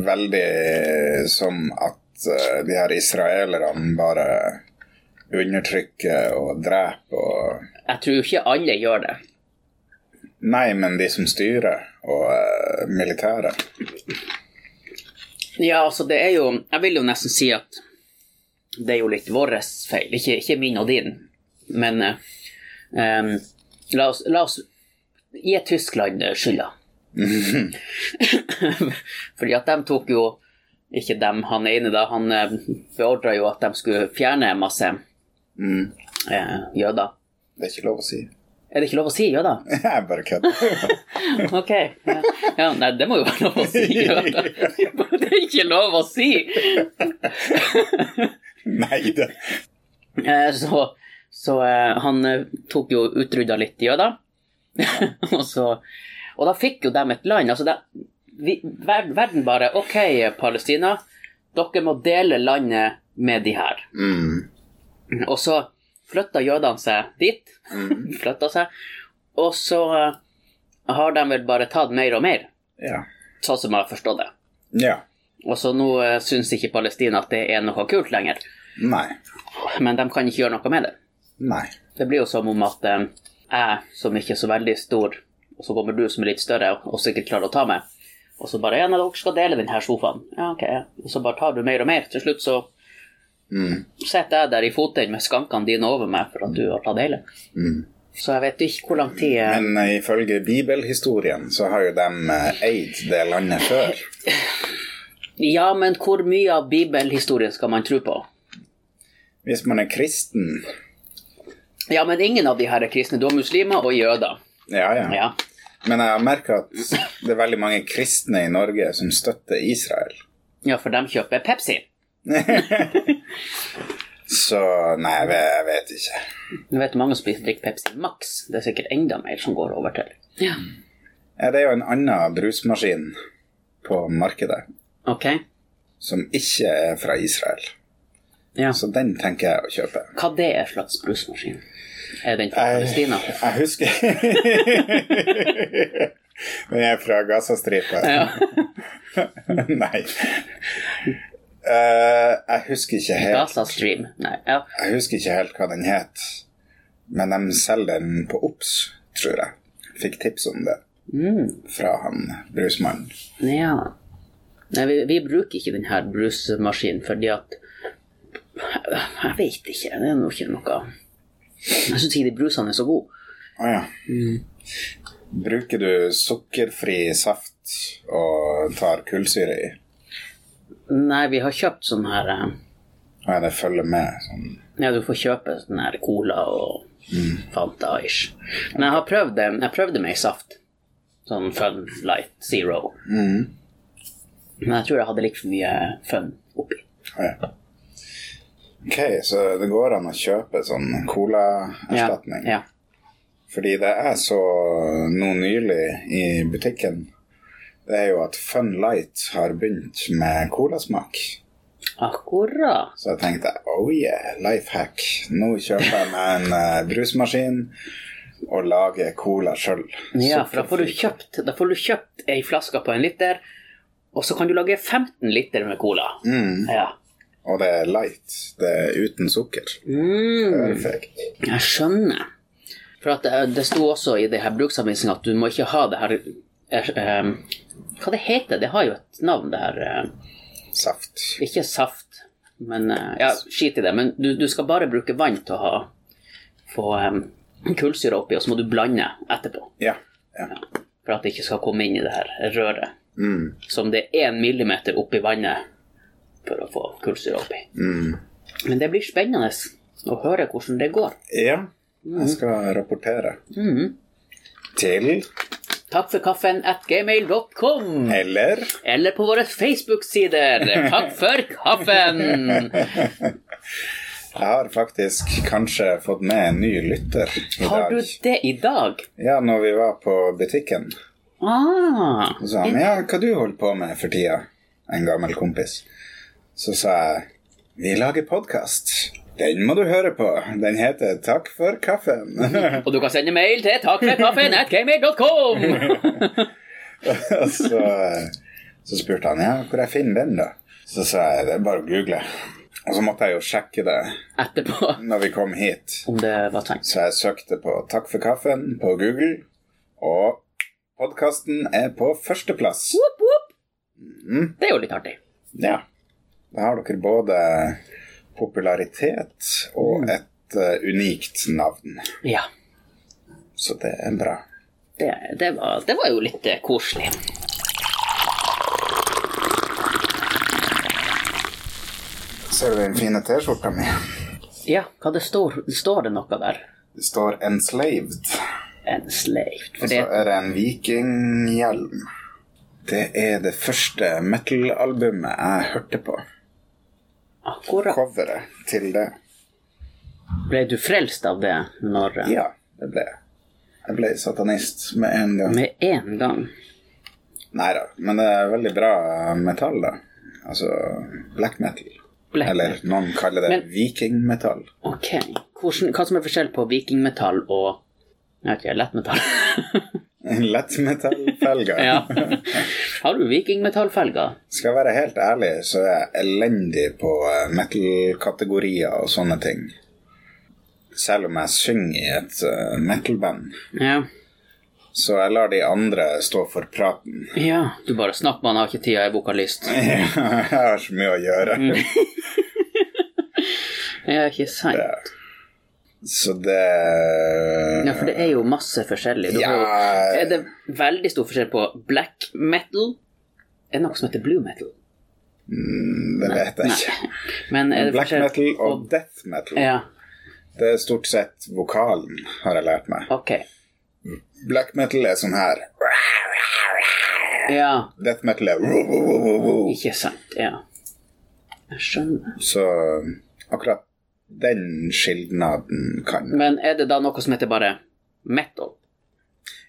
Speaker 2: veldig som at eh, de her israelerne bare undertrykker og dreper og
Speaker 1: Jeg tror jo ikke alle gjør det.
Speaker 2: Nei, men de som styrer, og eh, militæret.
Speaker 1: Ja, altså det er jo Jeg vil jo nesten si at det er jo litt vår feil, ikke, ikke min og din. Men eh, em, la, oss, la oss gi Tyskland eh, skylda. Fordi at de tok jo Ikke dem, han ene, da. Han eh, beordra jo at de skulle fjerne masse
Speaker 2: Mm.
Speaker 1: eh, jøder.
Speaker 2: Det er ikke lov å si.
Speaker 1: Er det ikke lov å si jøder?
Speaker 2: Jeg bare kødder.
Speaker 1: Ok. Ja. Ja, nei, det må jo være lov å si. jøder. Det er ikke lov å si!
Speaker 2: Nei da.
Speaker 1: Eh, Så, så eh, han eh, tok jo utrydda litt jøder. og, så, og da fikk jo dem et land. Altså det, vi, ver, verden bare OK, Palestina, dere må dele landet med de her.
Speaker 2: Mm.
Speaker 1: Og så flytta jødene seg dit.
Speaker 2: Mm.
Speaker 1: flytta seg. Og så eh, har de vel bare tatt mer og mer,
Speaker 2: Ja.
Speaker 1: sånn som jeg har forstått det.
Speaker 2: ja.
Speaker 1: Og så nå eh, syns ikke Palestina at det er noe kult lenger.
Speaker 2: Nei.
Speaker 1: Men de kan ikke gjøre noe med det.
Speaker 2: Nei.
Speaker 1: Det blir jo som om at eh, jeg, som ikke er så veldig stor, og så kommer du som er litt større og sikkert klarer å ta meg, og så bare Ja, nei, dere skal dele denne sofaen. Ja, ok. ja. Og så bare tar du mer og mer. Til slutt så
Speaker 2: Mm.
Speaker 1: sitter jeg der i foten med skankene dine over meg for at du har tatt hele.
Speaker 2: Mm.
Speaker 1: Så jeg vet ikke hvor lang tid eh,
Speaker 2: Men eh, ifølge bibelhistorien så har jo de eh, eid det landet før.
Speaker 1: Ja, men hvor mye av bibelhistorien skal man tro på?
Speaker 2: Hvis man er kristen
Speaker 1: Ja, men ingen av de her er kristne. Du har muslimer og jøder.
Speaker 2: Ja, ja.
Speaker 1: Ja.
Speaker 2: Men jeg har merka at det er veldig mange kristne i Norge som støtter Israel.
Speaker 1: ja, for de kjøper Pepsi.
Speaker 2: Så nei, jeg vet, jeg vet ikke.
Speaker 1: Du vet mange som spiser drikker Pepsi Max. Det er sikkert enda mer som går over til. Ja.
Speaker 2: Ja, Det er jo en annen brusmaskin på markedet
Speaker 1: Ok.
Speaker 2: som ikke er fra Israel.
Speaker 1: Ja.
Speaker 2: Så den tenker jeg å kjøpe.
Speaker 1: Hva det er slags brusmaskin? Er den fra
Speaker 2: Jeg,
Speaker 1: Palestina?
Speaker 2: jeg husker Men jeg er fra Gazastripa.
Speaker 1: Ja.
Speaker 2: Nei. Eh, jeg husker ikke helt
Speaker 1: Gaza Stream? Nei. Ja.
Speaker 2: Jeg husker ikke helt hva den het, men de selger den på Ops, tror jeg. Fikk tips om det
Speaker 1: Mm.
Speaker 2: fra han brusmannen.
Speaker 1: ja. Nei, vi, vi bruker ikke denne brusmaskinen fordi at Jeg vet ikke. Det er nå ikke noe Jeg syns ikke de brusene er så gode.
Speaker 2: Å ja.
Speaker 1: Mm.
Speaker 2: Bruker du sukkerfri saft og tar kullsyre i?
Speaker 1: Nei, vi har kjøpt sånn her eh,
Speaker 2: Ja, det følger med. Sånn.
Speaker 1: Ja, du får kjøpe sånn her cola og Fanta-ish. Men jeg har prøvd en Jeg prøvde meg i saft. Sånn Fun Light Zero. Men jeg tror jeg hadde litt for mye fun oppi.
Speaker 2: Å ja. Ok, så det går an å kjøpe sånn
Speaker 1: Ja,
Speaker 2: colaerstatning.
Speaker 1: ja.
Speaker 2: Fordi det jeg så nå nylig i butikken, det er jo at Fun Light har begynt med colasmak.
Speaker 1: Akkurat.
Speaker 2: Så jeg tenkte oh yeah, life hack. Nå kjøper jeg meg en eh, brusmaskin og lager cola sjøl.
Speaker 1: Ja, for da får du kjøpt Da får du kjøpt ei flaske på en liter, og så kan du lage 15 liter med cola. Ja.
Speaker 2: Og det er light. Det er uten sukker.
Speaker 1: Mm,
Speaker 2: Perfekt.
Speaker 1: jeg skjønner. For at eh, det, det sto også i det her bruksanvisninga at du må ikke ha det her eh, eh, Hva det heter Det har jo et navn, det her. eh,
Speaker 2: Saft.
Speaker 1: Ikke saft, men eh, Ja, skit i det. Men du, du skal bare bruke vann til å ha få um, kullsyre oppi, og så må du blande etterpå.
Speaker 2: Ja. ja.
Speaker 1: For at det ikke skal komme inn i det her røret.
Speaker 2: Mm.
Speaker 1: Som det er én millimeter oppi vannet for å få kullsyre oppi.
Speaker 2: Mm.
Speaker 1: Men det blir spennende å høre hvordan det går.
Speaker 2: ja. Jeg skal rapportere.
Speaker 1: Mhm.
Speaker 2: Til
Speaker 1: Takk for kaffen at gmail.com,
Speaker 2: eller
Speaker 1: eller på våre Facebook-sider. Takk for kaffen!
Speaker 2: Jeg har faktisk kanskje fått med en ny lytter i
Speaker 1: Har
Speaker 2: dag.
Speaker 1: du det i dag?
Speaker 2: Ja, når vi var på butikken.
Speaker 1: Ah,
Speaker 2: Så sa han ja, hva du holder på med for tida? En gammel kompis. Så sa jeg vi lager podkast. Den må du høre på. Den heter Takk for kaffen.
Speaker 1: Og du kan sende mail til takkforkaffen.gmail.com!
Speaker 2: Og så, så spurte han ja, hvor jeg finner den, da. Så sa jeg det er bare å google. Og så måtte jeg jo sjekke det
Speaker 1: Etterpå,
Speaker 2: når vi kom hit.
Speaker 1: om det var sant.
Speaker 2: Så jeg søkte på Takk for kaffen på Google, og podkasten er på førsteplass.
Speaker 1: Woop, woop.
Speaker 2: Mm.
Speaker 1: Det er jo litt artig.
Speaker 2: Ja. Da har dere både popularitet og et eh, unikt navn.
Speaker 1: Ja,
Speaker 2: Så det er bra.
Speaker 1: det, det, var, det var jo litt eh, koselig.
Speaker 2: Ser du den fine T-skjorta mi?
Speaker 1: Ja, hva det står, står det noe der?
Speaker 2: Det står 'enslaved',
Speaker 1: Enslaved.
Speaker 2: og
Speaker 1: For
Speaker 2: så
Speaker 1: det,
Speaker 2: er det en vikinghjelm. Det er det første metal-albumet jeg hørte på.
Speaker 1: akkurat.
Speaker 2: Coveret til det.
Speaker 1: Ble du frelst av det når eh,
Speaker 2: Ja, det ble jeg. Jeg ble satanist med en gang.
Speaker 1: Med en gang.
Speaker 2: Nei da, men det er veldig bra metall, da. Altså black metal.
Speaker 1: Black
Speaker 2: Eller noen kaller det
Speaker 1: Men-
Speaker 2: vikingmetall.
Speaker 1: Ok. Hvordan, hva som er forskjell på vikingmetall og jeg vet ikke, lettmetall?
Speaker 2: Lettmetallfelger.
Speaker 1: ja. Har du vikingmetallfelger?
Speaker 2: Skal jeg være helt ærlig, så er jeg elendig på eh, metal-kategorier og sånne ting. Selv om jeg synger i et eh, metal-band.
Speaker 1: Ja.
Speaker 2: Så jeg lar de andre stå for praten.
Speaker 1: ja. Du bare snakk, man har ikke tid, jeg er vokalist.
Speaker 2: Jeg har så mye å gjøre.
Speaker 1: Mm. Ja, ikke sant.
Speaker 2: Så det
Speaker 1: Ja, for det er jo masse forskjellig. Du
Speaker 2: Ja.
Speaker 1: har jo- Er det veldig stor forskjell på black metal Er det noe som heter blue metal?
Speaker 2: Det vet jeg ikke.
Speaker 1: Men er det
Speaker 2: Black
Speaker 1: forskjell
Speaker 2: metal og death metal.
Speaker 1: Ja,
Speaker 2: Det er stort sett vokalen, har jeg lært meg.
Speaker 1: ok.
Speaker 2: Black metal er sånn her.
Speaker 1: Ja,
Speaker 2: Death metal er
Speaker 1: ikke sant. Ja. Jeg skjønner.
Speaker 2: Så akkurat den skilnaden kan
Speaker 1: Men er det da noe som heter bare metal?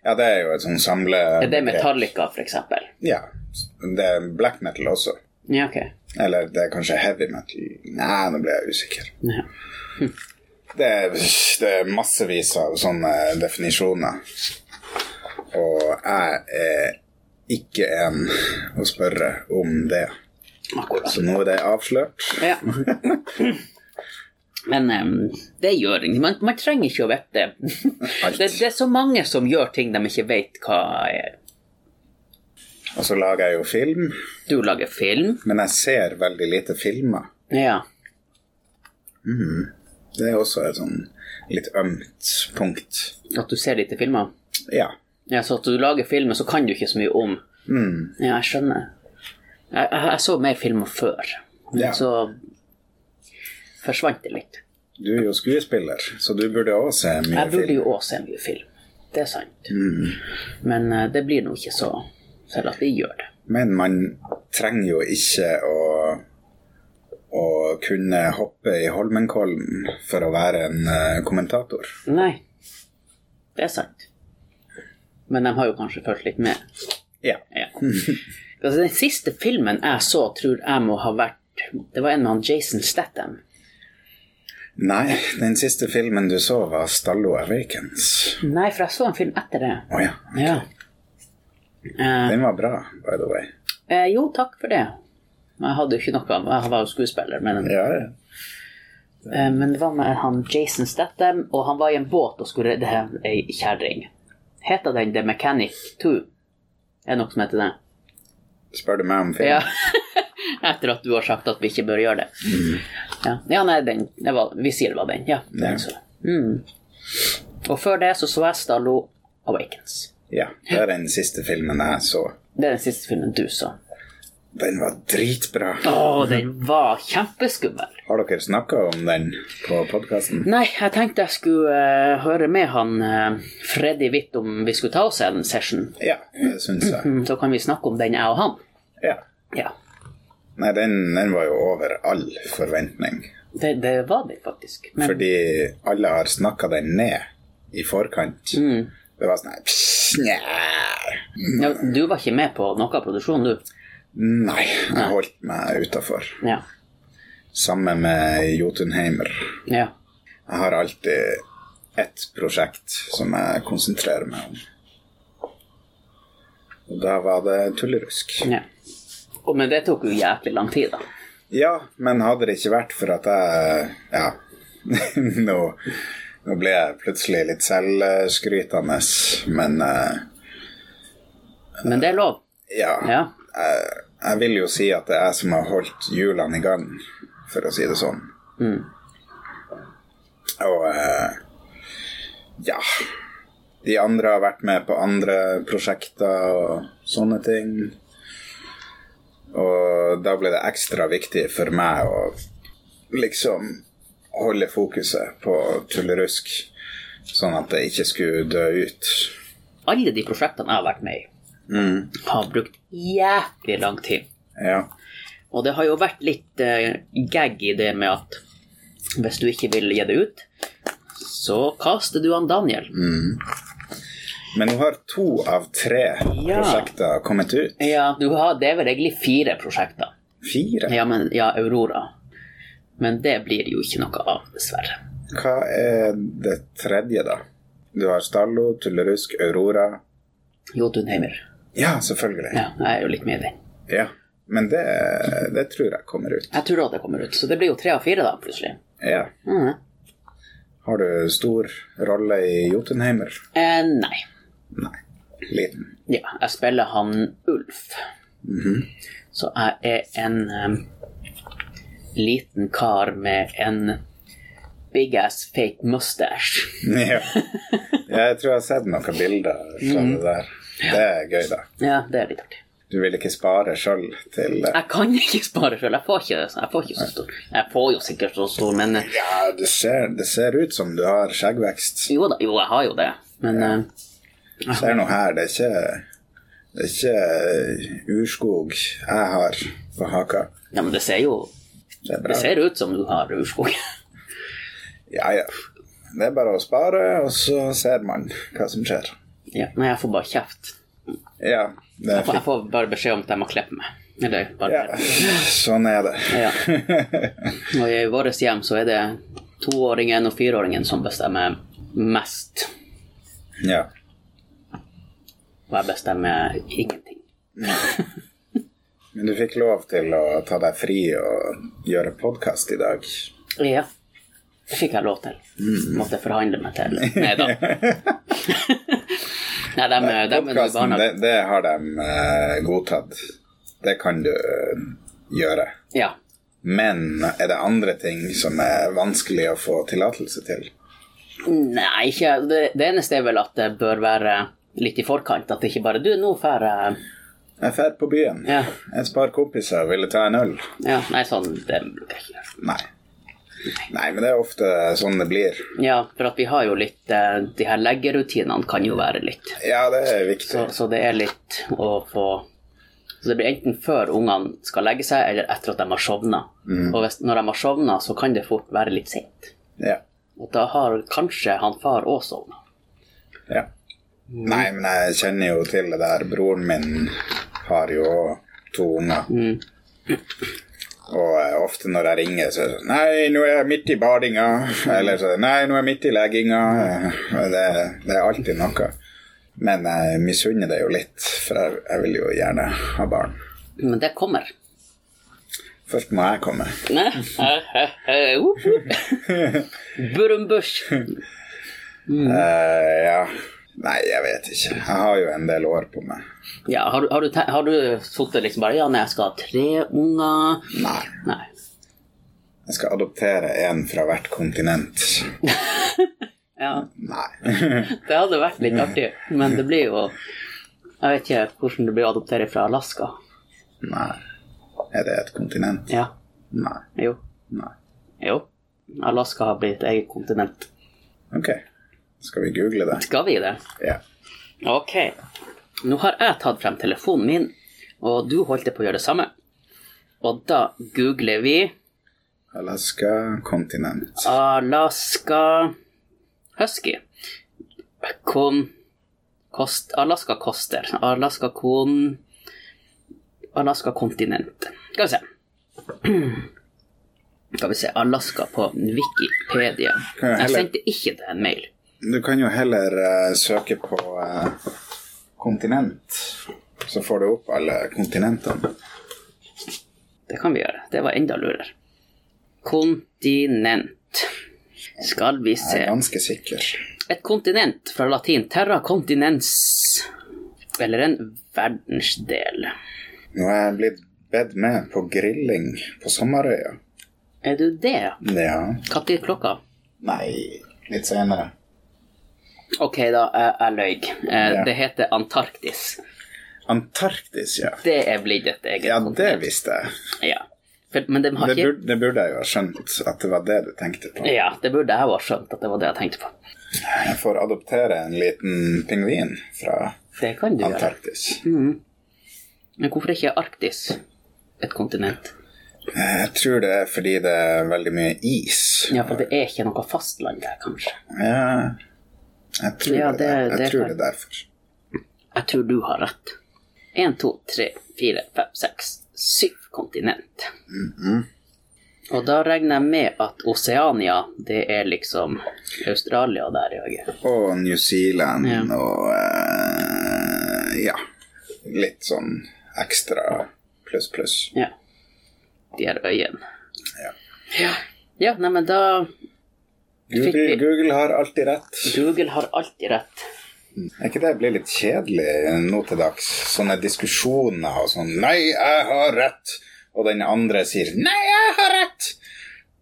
Speaker 2: Ja, det er jo et sånn samle...
Speaker 1: Er det Metallica, for eksempel?
Speaker 2: Ja. Det er black metal også.
Speaker 1: Ja, ok.
Speaker 2: Eller det er kanskje heavy metal. Nei, nå ble jeg usikker.
Speaker 1: Ja.
Speaker 2: Det er, det er massevis av sånne definisjoner. Og jeg er ikke en å spørre om det.
Speaker 1: Akkurat.
Speaker 2: Så nå er det avslørt.
Speaker 1: Ja. Men em, det gjør ingenting. Man, man trenger ikke å vite
Speaker 2: Alt.
Speaker 1: det. Det er så mange som gjør ting de ikke vet hva er.
Speaker 2: Og så lager jeg jo film,
Speaker 1: Du lager film.
Speaker 2: men jeg ser veldig lite filmer.
Speaker 1: Ja.
Speaker 2: Det er også et sånn litt ømt punkt.
Speaker 1: At du ser lite filmer?
Speaker 2: Ja.
Speaker 1: Ja, Så at du lager filmer, så kan du ikke så mye om.
Speaker 2: Mm.
Speaker 1: Ja, jeg skjønner. Jeg, jeg, jeg så mer filmer før, men
Speaker 2: Ja.
Speaker 1: så forsvant det litt.
Speaker 2: Du er jo skuespiller, så du burde òg se mye
Speaker 1: Jeg burde
Speaker 2: film. Mm.
Speaker 1: jo òg se mye film, det er sant. Men eh, det blir nå ikke så, selv at vi gjør det.
Speaker 2: Men man trenger jo ikke å å kunne hoppe i Holmenkollen for å være en eh, kommentator.
Speaker 1: Nei, det er sant. Men de har jo kanskje følt litt med.
Speaker 2: Ja.
Speaker 1: Ja. Altså, den siste filmen jeg så, tror jeg må ha vært Det var en med han Jason Statham.
Speaker 2: Nei, den siste filmen du så, var 'Stallo Awakens'.
Speaker 1: Nei, for jeg så en film etter det.
Speaker 2: Å ja.
Speaker 1: Ja. Eh,
Speaker 2: Den var bra, by the way.
Speaker 1: eh, jo, takk for det. Jeg hadde jo ikke noe Jeg var jo skuespiller, men,
Speaker 2: Ja, ja.
Speaker 1: eh, men det var med han Jason Statham, og han var i en båt og skulle redde ei kjerring. Heter den The Mechanic 2? Er det noe som heter det?
Speaker 2: Spør du meg om film?
Speaker 1: Ja. Etter at du har sagt at vi ikke bør gjøre det. Ja, ja nei, den det var, Vi sier det var den. Mm. Ja.
Speaker 2: Ja.
Speaker 1: Den, så. Mm. Og før det så så jeg Stallo Awakens.
Speaker 2: Ja, det er den siste filmen jeg så.
Speaker 1: Det er den siste filmen du så. Mm.
Speaker 2: Den var dritbra.
Speaker 1: Å, den var kjempeskummel.
Speaker 2: Har dere snakka om den på podkasten?
Speaker 1: Nei, jeg tenkte jeg skulle eh, høre med han eh, Freddy Hvitt om vi skulle ta oss en session.
Speaker 2: Ja, det syns jeg.
Speaker 1: Mm, Så kan vi snakke om den, jeg og han.
Speaker 2: Ja.
Speaker 1: Ja,
Speaker 2: Nei, den, den var jo over all forventning.
Speaker 1: det, det var den faktisk. Men
Speaker 2: Fordi alle har snakka den ned i forkant.
Speaker 1: Mm.
Speaker 2: Det var sånn her, pss, Nja
Speaker 1: ja, du var ikke med på noe av produksjonen, du.
Speaker 2: Nei, jeg holdt meg utafor.
Speaker 1: Ja.
Speaker 2: Sammen med Jotunheimer.
Speaker 1: ja.
Speaker 2: Jeg har alltid ett prosjekt som jeg konsentrerer meg om. Og da var det tullerusk.
Speaker 1: Ja. Og, men det tok jo jævlig lang tid, da.
Speaker 2: Ja, men hadde det ikke vært for at jeg Ja. nå, nå ble jeg plutselig litt selvskrytende, men eh,
Speaker 1: Men det er lov.
Speaker 2: ja.
Speaker 1: Ja.
Speaker 2: Jeg, Eh, jeg vil jo si at det er jeg som har holdt hjulene i gang, for å si det sånn.
Speaker 1: Mm.
Speaker 2: Og eh, ja. De andre har vært med på andre prosjekter og sånne ting. Og da ble det ekstra viktig for meg å liksom holde fokuset på tullerusk, sånn at det ikke skulle dø ut.
Speaker 1: Alle de prosjektene jeg har vært med i,
Speaker 2: Mm.
Speaker 1: har brukt jævlig lang tid.
Speaker 2: Ja.
Speaker 1: Og det har jo vært litt eh, gag i det med at hvis du ikke vil gi det ut, så kaster du han Daniel.
Speaker 2: Men nå har to av tre
Speaker 1: Ja.
Speaker 2: prosjekter kommet ut.
Speaker 1: Ja, du har, det er vel egentlig fire prosjekter.
Speaker 2: Fire?
Speaker 1: Ja, men, ja, Aurora. Men det blir jo ikke noe av, dessverre.
Speaker 2: Hva er det tredje, da? Du har Stallo, Tullerusk, Aurora
Speaker 1: Jotunheimer.
Speaker 2: Ja, selvfølgelig.
Speaker 1: Ja, jeg er jo litt med i den.
Speaker 2: Ja, men det, det tror jeg kommer ut.
Speaker 1: Jeg tror at det kommer ut, så det blir jo tre av fire da, plutselig.
Speaker 2: Ja.
Speaker 1: Mhm.
Speaker 2: Har du stor rolle i Jotunheimer?
Speaker 1: Eh, nei.
Speaker 2: Nei. Liten.
Speaker 1: Ja, jeg spiller han Ulf. Så jeg er en em, liten kar med en big ass fake mustache.
Speaker 2: Ja. ja, jeg tror jeg har sett noen bilder fra
Speaker 1: Mm.
Speaker 2: det der. Det er gøy, da.
Speaker 1: Ja, det er litt artig.
Speaker 2: Du vil ikke spare sjøl til
Speaker 1: Jeg kan ikke spare sjøl, jeg får ikke det. så Jeg får ikke så stor. Jeg får jo sikkert så stor, men eh,
Speaker 2: Ja, det ser, det ser ut som du har skjeggvekst.
Speaker 1: jo da, jo, jeg har jo det. Men eh,
Speaker 2: Ser nå her, det er ikke Det er ikke urskog jeg har på haka.
Speaker 1: ja, men det ser jo
Speaker 2: Det er
Speaker 1: Det
Speaker 2: bra.
Speaker 1: ser ut som du har urskog.
Speaker 2: Ja, ja. Det er bare å spare, og så ser man hva som skjer.
Speaker 1: Ja, men jeg får bare kjeft.
Speaker 2: Ja, det
Speaker 1: Jeg
Speaker 2: er
Speaker 1: får, jeg
Speaker 2: fint.
Speaker 1: får bare beskjed om at jeg må klippe meg. Eller bare
Speaker 2: Ja, sånn er det.
Speaker 1: Ja. Og i vårt hjem så er det toåringen og fireåringen som bestemmer mest.
Speaker 2: Ja.
Speaker 1: Og jeg bestemmer ingenting.
Speaker 2: Men du fikk lov til å ta deg fri og gjøre podkast i dag.
Speaker 1: Ja. Det fikk jeg lov til. Måtte jeg forhandle meg til. Nei da. Nei, dem, dem er nå i
Speaker 2: Podkasten, det,
Speaker 1: barnehagen.
Speaker 2: det har de eh, godtatt. Det kan du eh, gjøre.
Speaker 1: Ja.
Speaker 2: Men er det andre ting som er vanskelig å få tillatelse til?
Speaker 1: Nei, ikke det, det eneste er vel at det bør være litt i forkant. At det ikke bare Du, nå drar jeg
Speaker 2: Jeg drar på byen.
Speaker 1: Ja.
Speaker 2: Et par kompiser ville ta en øl.
Speaker 1: Ja, nei, sånn Det bruker jeg ikke gjøre.
Speaker 2: Nei. Nei, men det er ofte sånn det blir.
Speaker 1: Ja, for at vi har jo litt eh, De her leggerutinene kan jo være litt
Speaker 2: Ja, det er viktig.
Speaker 1: så, så det er litt å få Så det blir enten før ungene skal legge seg, eller etter at de har sovna. Og hvis, når de har sovna, så kan det fort være litt sent.
Speaker 2: Ja.
Speaker 1: Og da har kanskje han far òg sovna.
Speaker 2: ja. Nei, men jeg kjenner jo til det der. Broren min har jo to unger. Og eh, ofte når jeg ringer, så er det sånn Nei, nå er jeg midt i badinga. Eller så Nei, nå er jeg midt i legginga. Eh, Det, det er alltid noe. Men jeg misunner det jo litt, for jeg, jeg vil jo gjerne ha barn.
Speaker 1: Men det kommer.
Speaker 2: Først må jeg komme.
Speaker 1: Nei, eh, eh, eh, uh, uh. Burumbush.
Speaker 2: Eh, ja. Nei, jeg vet ikke. Jeg har jo en del år på meg.
Speaker 1: Ja, har, du- har du, te- har du sittet liksom bare Ja, nei, jeg skal ha tre unger.
Speaker 2: Nei.
Speaker 1: Nei.
Speaker 2: Jeg skal adoptere en fra hvert kontinent.
Speaker 1: Ja,
Speaker 2: Nei.
Speaker 1: det hadde vært litt artig, men det blir jo Jeg vet ikke hvordan det blir å adoptere fra Alaska.
Speaker 2: Nei. Er det et kontinent?
Speaker 1: Ja.
Speaker 2: Nei.
Speaker 1: Jo.
Speaker 2: Nei.
Speaker 1: Jo. Alaska har blitt et eget kontinent.
Speaker 2: Ok. Skal vi google det?
Speaker 1: Skal vi det?
Speaker 2: Ja.
Speaker 1: Ok. Nå har jeg tatt frem telefonen min, og du holdt på å gjøre det samme. Og da googler vi
Speaker 2: Alaska kontinent.
Speaker 1: Alaska Husky. Kon... Kost... Alaska koster. Alaska kon... Alaska kontinent. Skal vi se. Skal vi se Alaska på Wikipedia.
Speaker 2: Kan jeg
Speaker 1: Jeg
Speaker 2: heller-
Speaker 1: sendte ikke deg en mail.
Speaker 2: Du kan jo heller eh, søke på eh, kontinent, så får du opp alle kontinentene.
Speaker 1: Det kan vi gjøre. Det var enda lurere. Kontinent. Skal vi se.
Speaker 2: Jeg er ganske sikker.
Speaker 1: Et kontinent fra latin terra continens, eller en verdensdel.
Speaker 2: Nå er jeg blitt bedt med på grilling på Sommerøya.
Speaker 1: Er du det?
Speaker 2: Ja.
Speaker 1: Når er klokka?
Speaker 2: Nei, litt senere.
Speaker 1: Ok, da, jeg, jeg løy. Eh,
Speaker 2: Ja.
Speaker 1: Det heter Antarktis.
Speaker 2: Antarktis, ja.
Speaker 1: Det er blitt et eget
Speaker 2: Ja, det
Speaker 1: kontinent.
Speaker 2: visste jeg.
Speaker 1: Ja. For, men de har
Speaker 2: Det
Speaker 1: ikke
Speaker 2: burde, det burde jeg jo ha skjønt, at det var det du tenkte på.
Speaker 1: Ja, det burde jeg jo ha skjønt at det var det jeg tenkte på.
Speaker 2: Jeg får adoptere en liten pingvin fra
Speaker 1: Det kan du gjøre.
Speaker 2: Antarktis.
Speaker 1: Men hvorfor er ikke Arktis et kontinent?
Speaker 2: Jeg tror det er fordi det er veldig mye is.
Speaker 1: Ja, for det er ikke noe fastland der, kanskje.
Speaker 2: Ja, jeg tror,
Speaker 1: Ja,
Speaker 2: det,
Speaker 1: det-
Speaker 2: er- jeg
Speaker 1: det
Speaker 2: tror
Speaker 1: kan-
Speaker 2: det er derfor.
Speaker 1: Jeg tror du har rett. Én, to, tre, fire, fem, seks, syv kontinent. Og da regner jeg med at Oseania, det er liksom Australia der, ja.
Speaker 2: Og New Zealand
Speaker 1: Ja.
Speaker 2: og eh, ja, litt sånn ekstra pluss, pluss.
Speaker 1: ja. De her øyene.
Speaker 2: Ja.
Speaker 1: Ja, ja nei, men da
Speaker 2: Google,
Speaker 1: vi-
Speaker 2: Google har alltid rett.
Speaker 1: Google har alltid rett.
Speaker 2: Er ikke det blir litt kjedelig nå til dags? Sånne diskusjoner og sånn 'Nei, jeg har rett!' Og den andre sier 'Nei, jeg har rett!'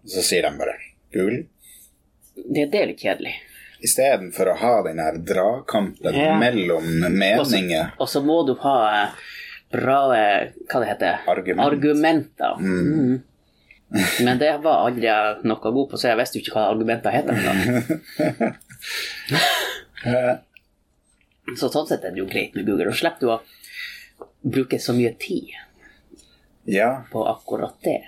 Speaker 2: Og så sier de bare 'Google'.
Speaker 1: Det er det litt kjedelig.
Speaker 2: Istedenfor å ha den her dragkampen
Speaker 1: Ja.
Speaker 2: mellom meninger.
Speaker 1: Og så må du ha eh, bra eh, Hva det heter
Speaker 2: Argument.
Speaker 1: Argumenter. Mhm. Men det var aldri jeg noe god på, så jeg visste jo ikke hva argumenter heter. engang. så sånn sett er det jo greit med Google. Og slipper du å bruke så mye tid
Speaker 2: Ja,
Speaker 1: på akkurat det.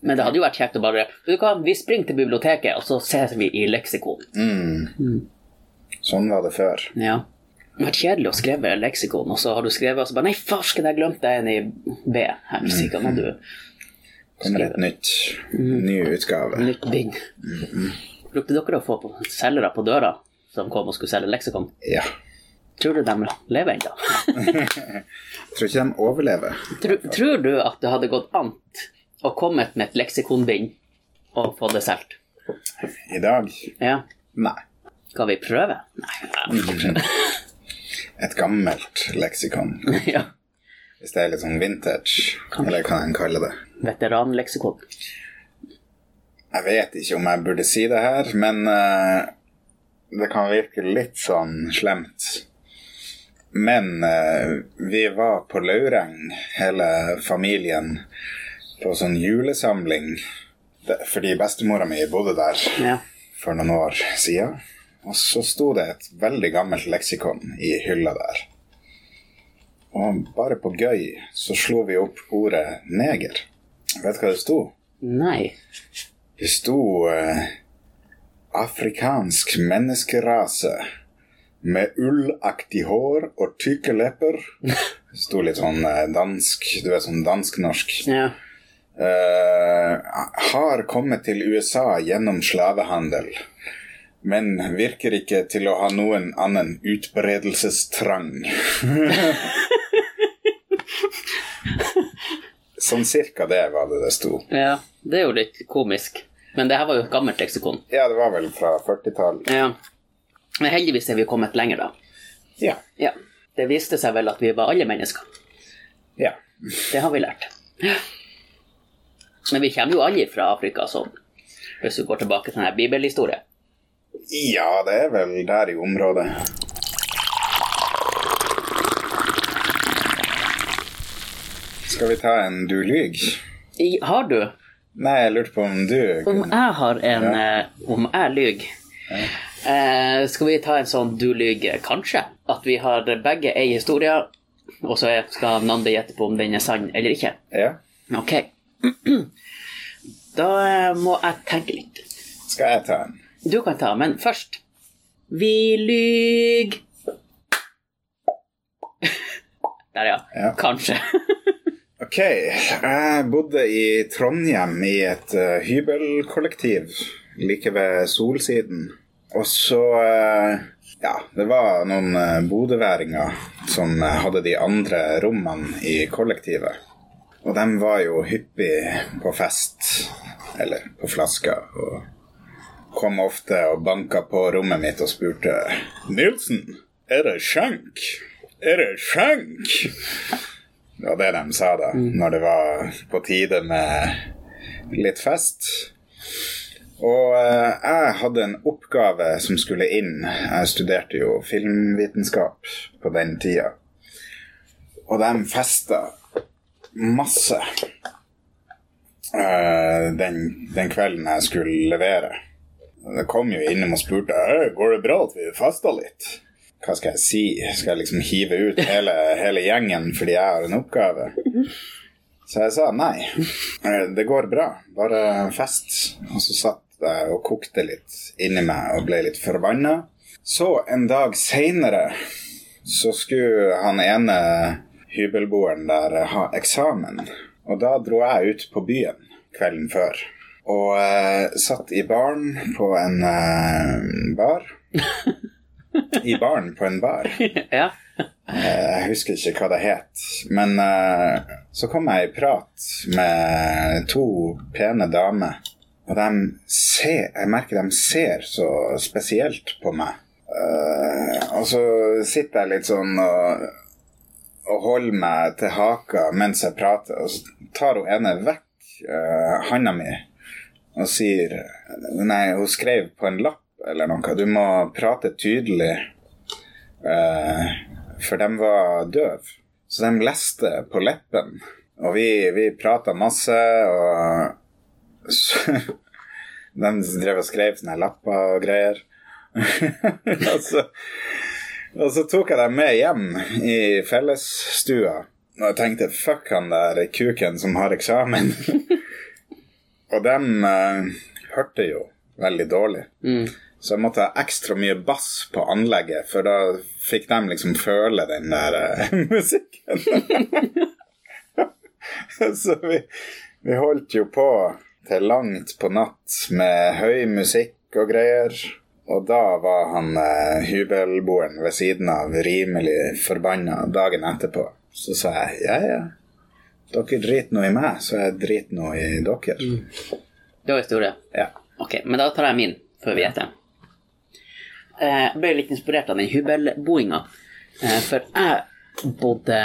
Speaker 1: Men det hadde jo vært kjekt å bare Vet du hva, vi springer til biblioteket, og så ses vi i leksikon.
Speaker 2: sånn var det før.
Speaker 1: Ja. Det har vært kjedelig å skrive leksikon, og så har du skrevet og så bare Nei, farsken, jeg glemte en i B. Helsike, nå du
Speaker 2: Kommer et nytt, ny utgave.
Speaker 1: nytt bind. Brukte dere å få på selgere på døra som kom og skulle selge leksikon?
Speaker 2: Ja.
Speaker 1: Tror du de lever ennå?
Speaker 2: Tror ikke de overlever.
Speaker 1: Tror, tror du at det hadde gått an å komme med et leksikonbind og få det solgt?
Speaker 2: I dag?
Speaker 1: Ja.
Speaker 2: Nei.
Speaker 1: Skal vi prøve? Nei. jeg vet ikke.
Speaker 2: Et gammelt leksikon.
Speaker 1: Ja.
Speaker 2: Hvis det er litt sånn vintage, eller hva en kaller det.
Speaker 1: Veteranleksikon.
Speaker 2: Jeg vet ikke om jeg burde si det her, men eh, det kan virke litt sånn slemt. Men eh, vi var på Laureng, hele familien, på sånn julesamling. Det- Fordi bestemora mi bodde der
Speaker 1: Ja.
Speaker 2: for noen år siden. Og så sto det et veldig gammelt leksikon i hylla der. Og bare på gøy så slo vi opp ordet neger. Vet du hva det sto?
Speaker 1: Nei.
Speaker 2: Det sto eh, 'afrikansk menneskerase'. Med ullaktig hår og tykke lepper. Det sto litt sånn eh, dansk, du vet sånn dansk-norsk.
Speaker 1: Ja.
Speaker 2: Eh, har kommet til USA gjennom slavehandel, men virker ikke til å ha noen annen utberedelsestrang. sånn cirka det var det det sto.
Speaker 1: ja. Det er jo litt komisk. Men det her var jo et gammelt leksikon.
Speaker 2: Ja, det var vel fra 40-tallet.
Speaker 1: Ja. Men heldigvis er vi kommet lenger, da.
Speaker 2: Ja.
Speaker 1: Ja. Det viste seg vel at vi var alle mennesker.
Speaker 2: ja.
Speaker 1: Det har vi lært. Men vi kommer jo alle fra Afrika, sånn. Hvis du går tilbake til denne bibelhistorien.
Speaker 2: Ja, det er vel der i området. Skal vi ta en du lyg?
Speaker 1: I- Har du?
Speaker 2: Nei, jeg lurte på om du
Speaker 1: Om
Speaker 2: kunne
Speaker 1: jeg har en eh, Om jeg lyver eh, Skal vi ta en sånn du lyver, kanskje? At vi har begge ei historie, og så er- skal Nande gjette på om den er sann eller ikke.
Speaker 2: Ja?
Speaker 1: Ok. Da eh, må jeg tenke litt.
Speaker 2: Skal jeg ta en?
Speaker 1: Du kan ta, men først Vi lyg Der, ja.
Speaker 2: Ja.
Speaker 1: Kanskje.
Speaker 2: Ok, jeg bodde i Trondheim i et eh, hybelkollektiv like ved Solsiden. Og så eh, Ja, det var noen eh, bodøværinger som eh, hadde de andre rommene i kollektivet. Og de var jo hyppig på fest, eller på flaska, og kom ofte og banka på rommet mitt og spurte Nilsen, er det skjenk? Er det skjenk? Det var det de sa da, når det var på tide med litt fest. Og eh, jeg hadde en oppgave som skulle inn. Jeg studerte jo filmvitenskap på den tida. Og de festa masse eh, den, den kvelden jeg skulle levere. Det kom jo innom og spurte «Øy, går det bra at vi festa litt hva skal jeg si? Skal jeg liksom hive ut hele, hele gjengen fordi jeg har en oppgave? Så jeg sa nei. Eh, Det går bra. Bare fest. Og så satt jeg og kokte litt inni meg og ble litt forbanna. Så en dag seinere så skulle han ene hybelboeren der ha eksamen. Og da dro jeg ut på byen kvelden før. Og eh, satt i baren på en eh, bar. I baren på en bar.
Speaker 1: Ja.
Speaker 2: Jeg husker ikke hva det het. Men eh, så kom jeg i prat med to pene damer. Og de ser, jeg merker de ser så spesielt på meg. Eh, og så sitter jeg litt sånn og, og holder meg til haka mens jeg prater. Og så tar hun ene vekk eh, handa mi og sier Nei, hun skrev på en lapp eller noe. Du må prate tydelig. Eh, for de var døv. Så de leste på leppen. Og vi, vi prata masse, og så, De drev og skrev sånne lapper og greier. og, så, og så tok jeg dem med hjem i fellesstua. Og jeg tenkte fuck han der kuken som har eksamen. og dem eh, hørte jo veldig dårlig.
Speaker 1: Mm.
Speaker 2: Så jeg måtte ha ekstra mye bass på anlegget, for da fikk de liksom føle den der eh, musikken. så vi, vi holdt jo på til langt på natt med høy musikk og greier. Og da var han eh, hybelboeren ved siden av rimelig forbanna dagen etterpå. Så sa jeg ja, ja. Dere driter nå i meg, så jeg driter nå i dere.
Speaker 1: Det var historie.
Speaker 2: Ja.
Speaker 1: Ok, men da tar jeg min, før vi gjetter. Eh, Jeg ble litt inspirert av den hybelboinga. Eh, For jeg bodde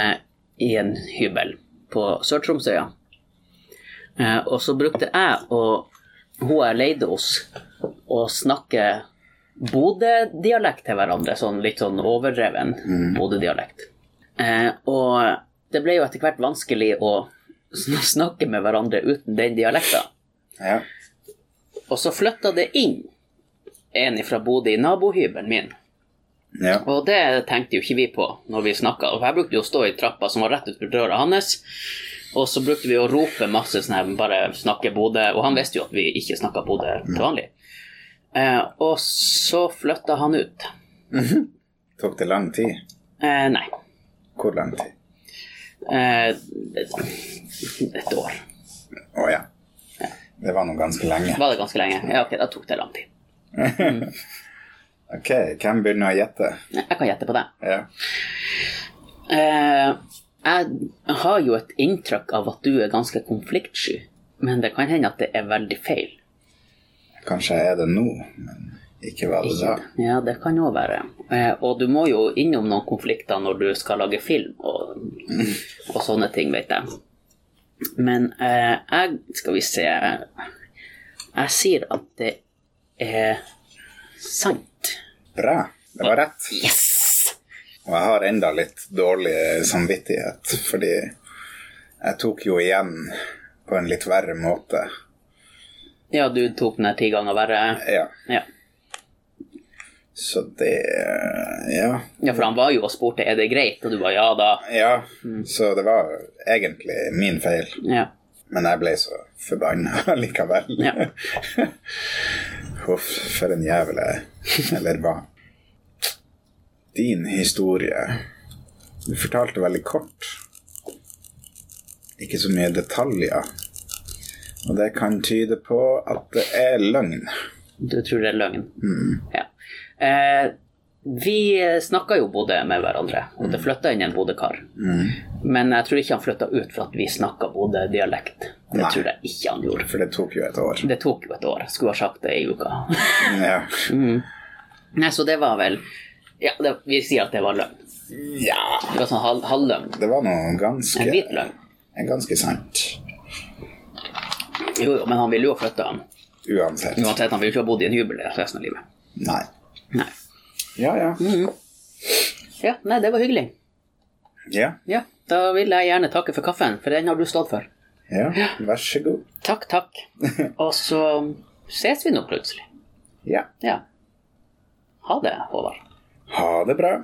Speaker 1: i en hybel på Sør-Tromsøya. Eh, Og så brukte jeg og hun jeg leide hos, å snakke Bodø-dialekt til hverandre, sånn litt sånn overdreven
Speaker 2: Mm.
Speaker 1: Bodø-dialekt. Eh, og det ble jo etter hvert vanskelig å sn- snakke med hverandre uten den dialekta.
Speaker 2: Ja.
Speaker 1: Og så flytta det inn en fra Bodø i nabohybelen min.
Speaker 2: ja.
Speaker 1: Og det tenkte jo ikke vi på når vi snakka. Jeg brukte jo å stå i trappa som var rett utenfor døra hans. Og så brukte vi å rope masse sånn her, bare snakke Bodø. Og han visste jo at vi ikke snakka Bodø til vanlig. Eh, og så flytta han ut.
Speaker 2: Tok det lang tid?
Speaker 1: Eh, nei.
Speaker 2: Hvor lang tid?
Speaker 1: Eh, et år.
Speaker 2: Å ja. Det var nå ganske lenge.
Speaker 1: Var det ganske lenge? Ja, ok, da tok det lang tid.
Speaker 2: Ok, hvem begynner å gjette?
Speaker 1: Jeg kan gjette på det.
Speaker 2: Ja.
Speaker 1: Eh, jeg har jo et inntrykk av at du er ganske konfliktsky, men det kan hende at det er veldig feil.
Speaker 2: Kanskje jeg er det nå, men ikke var det da.
Speaker 1: Ja, det kan òg være. Eh, og du må jo innom noen konflikter når du skal lage film og, og sånne ting, vet jeg. Men eh, jeg Skal vi se Jeg sier at det er sant.
Speaker 2: Bra. Det var rett.
Speaker 1: Yes!
Speaker 2: Og jeg har enda litt dårlig samvittighet, fordi jeg tok jo igjen på en litt verre måte.
Speaker 1: Ja, du tok den her ti ganger verre.
Speaker 2: Ja,
Speaker 1: Ja.
Speaker 2: så det Ja.
Speaker 1: ja, for han var jo og spurte er det greit, og du bare ja da.
Speaker 2: Ja, så det var egentlig min feil,
Speaker 1: Ja.
Speaker 2: men jeg ble så forbanna likevel.
Speaker 1: Ja.
Speaker 2: Huff, for en jævel jeg er. Eller hva? Din historie Du fortalte veldig kort. Ikke så mye detaljer. Og det kan tyde på at det er løgn.
Speaker 1: Du tror det er løgn? Ja. Eh, vi snakka jo Bodø med hverandre, og det flytta inn en Bodø-kar. Men jeg tror ikke han flytta ut for at vi snakka Bodø-dialekt. Det
Speaker 2: Nei.
Speaker 1: tror jeg ikke han gjorde.
Speaker 2: For det tok jo et år.
Speaker 1: Det tok jo et år. Skulle ha sagt det i uka.
Speaker 2: Ja,
Speaker 1: Nei, så det var vel Ja, det, vi sier at det var løgn.
Speaker 2: ja.
Speaker 1: Det var sånn halv, halvløgn.
Speaker 2: det var noe ganske
Speaker 1: En hvit løgn.
Speaker 2: Ganske sant.
Speaker 1: Jo, jo, men han ville jo ha flytta han.
Speaker 2: Uansett.
Speaker 1: Uansett, han ville jo ikke ha bodd i en hybel resten av livet.
Speaker 2: Nei.
Speaker 1: Nei.
Speaker 2: Ja, ja.
Speaker 1: Mm. Ja, nei, det var hyggelig.
Speaker 2: Ja,
Speaker 1: Ja, da vil jeg gjerne takke for kaffen, for den har du stått for.
Speaker 2: ja. Vær så god.
Speaker 1: Takk, takk. Og så ses vi nå plutselig.
Speaker 2: Ja.
Speaker 1: Ja. Ha det, Håvard.
Speaker 2: Ha det bra.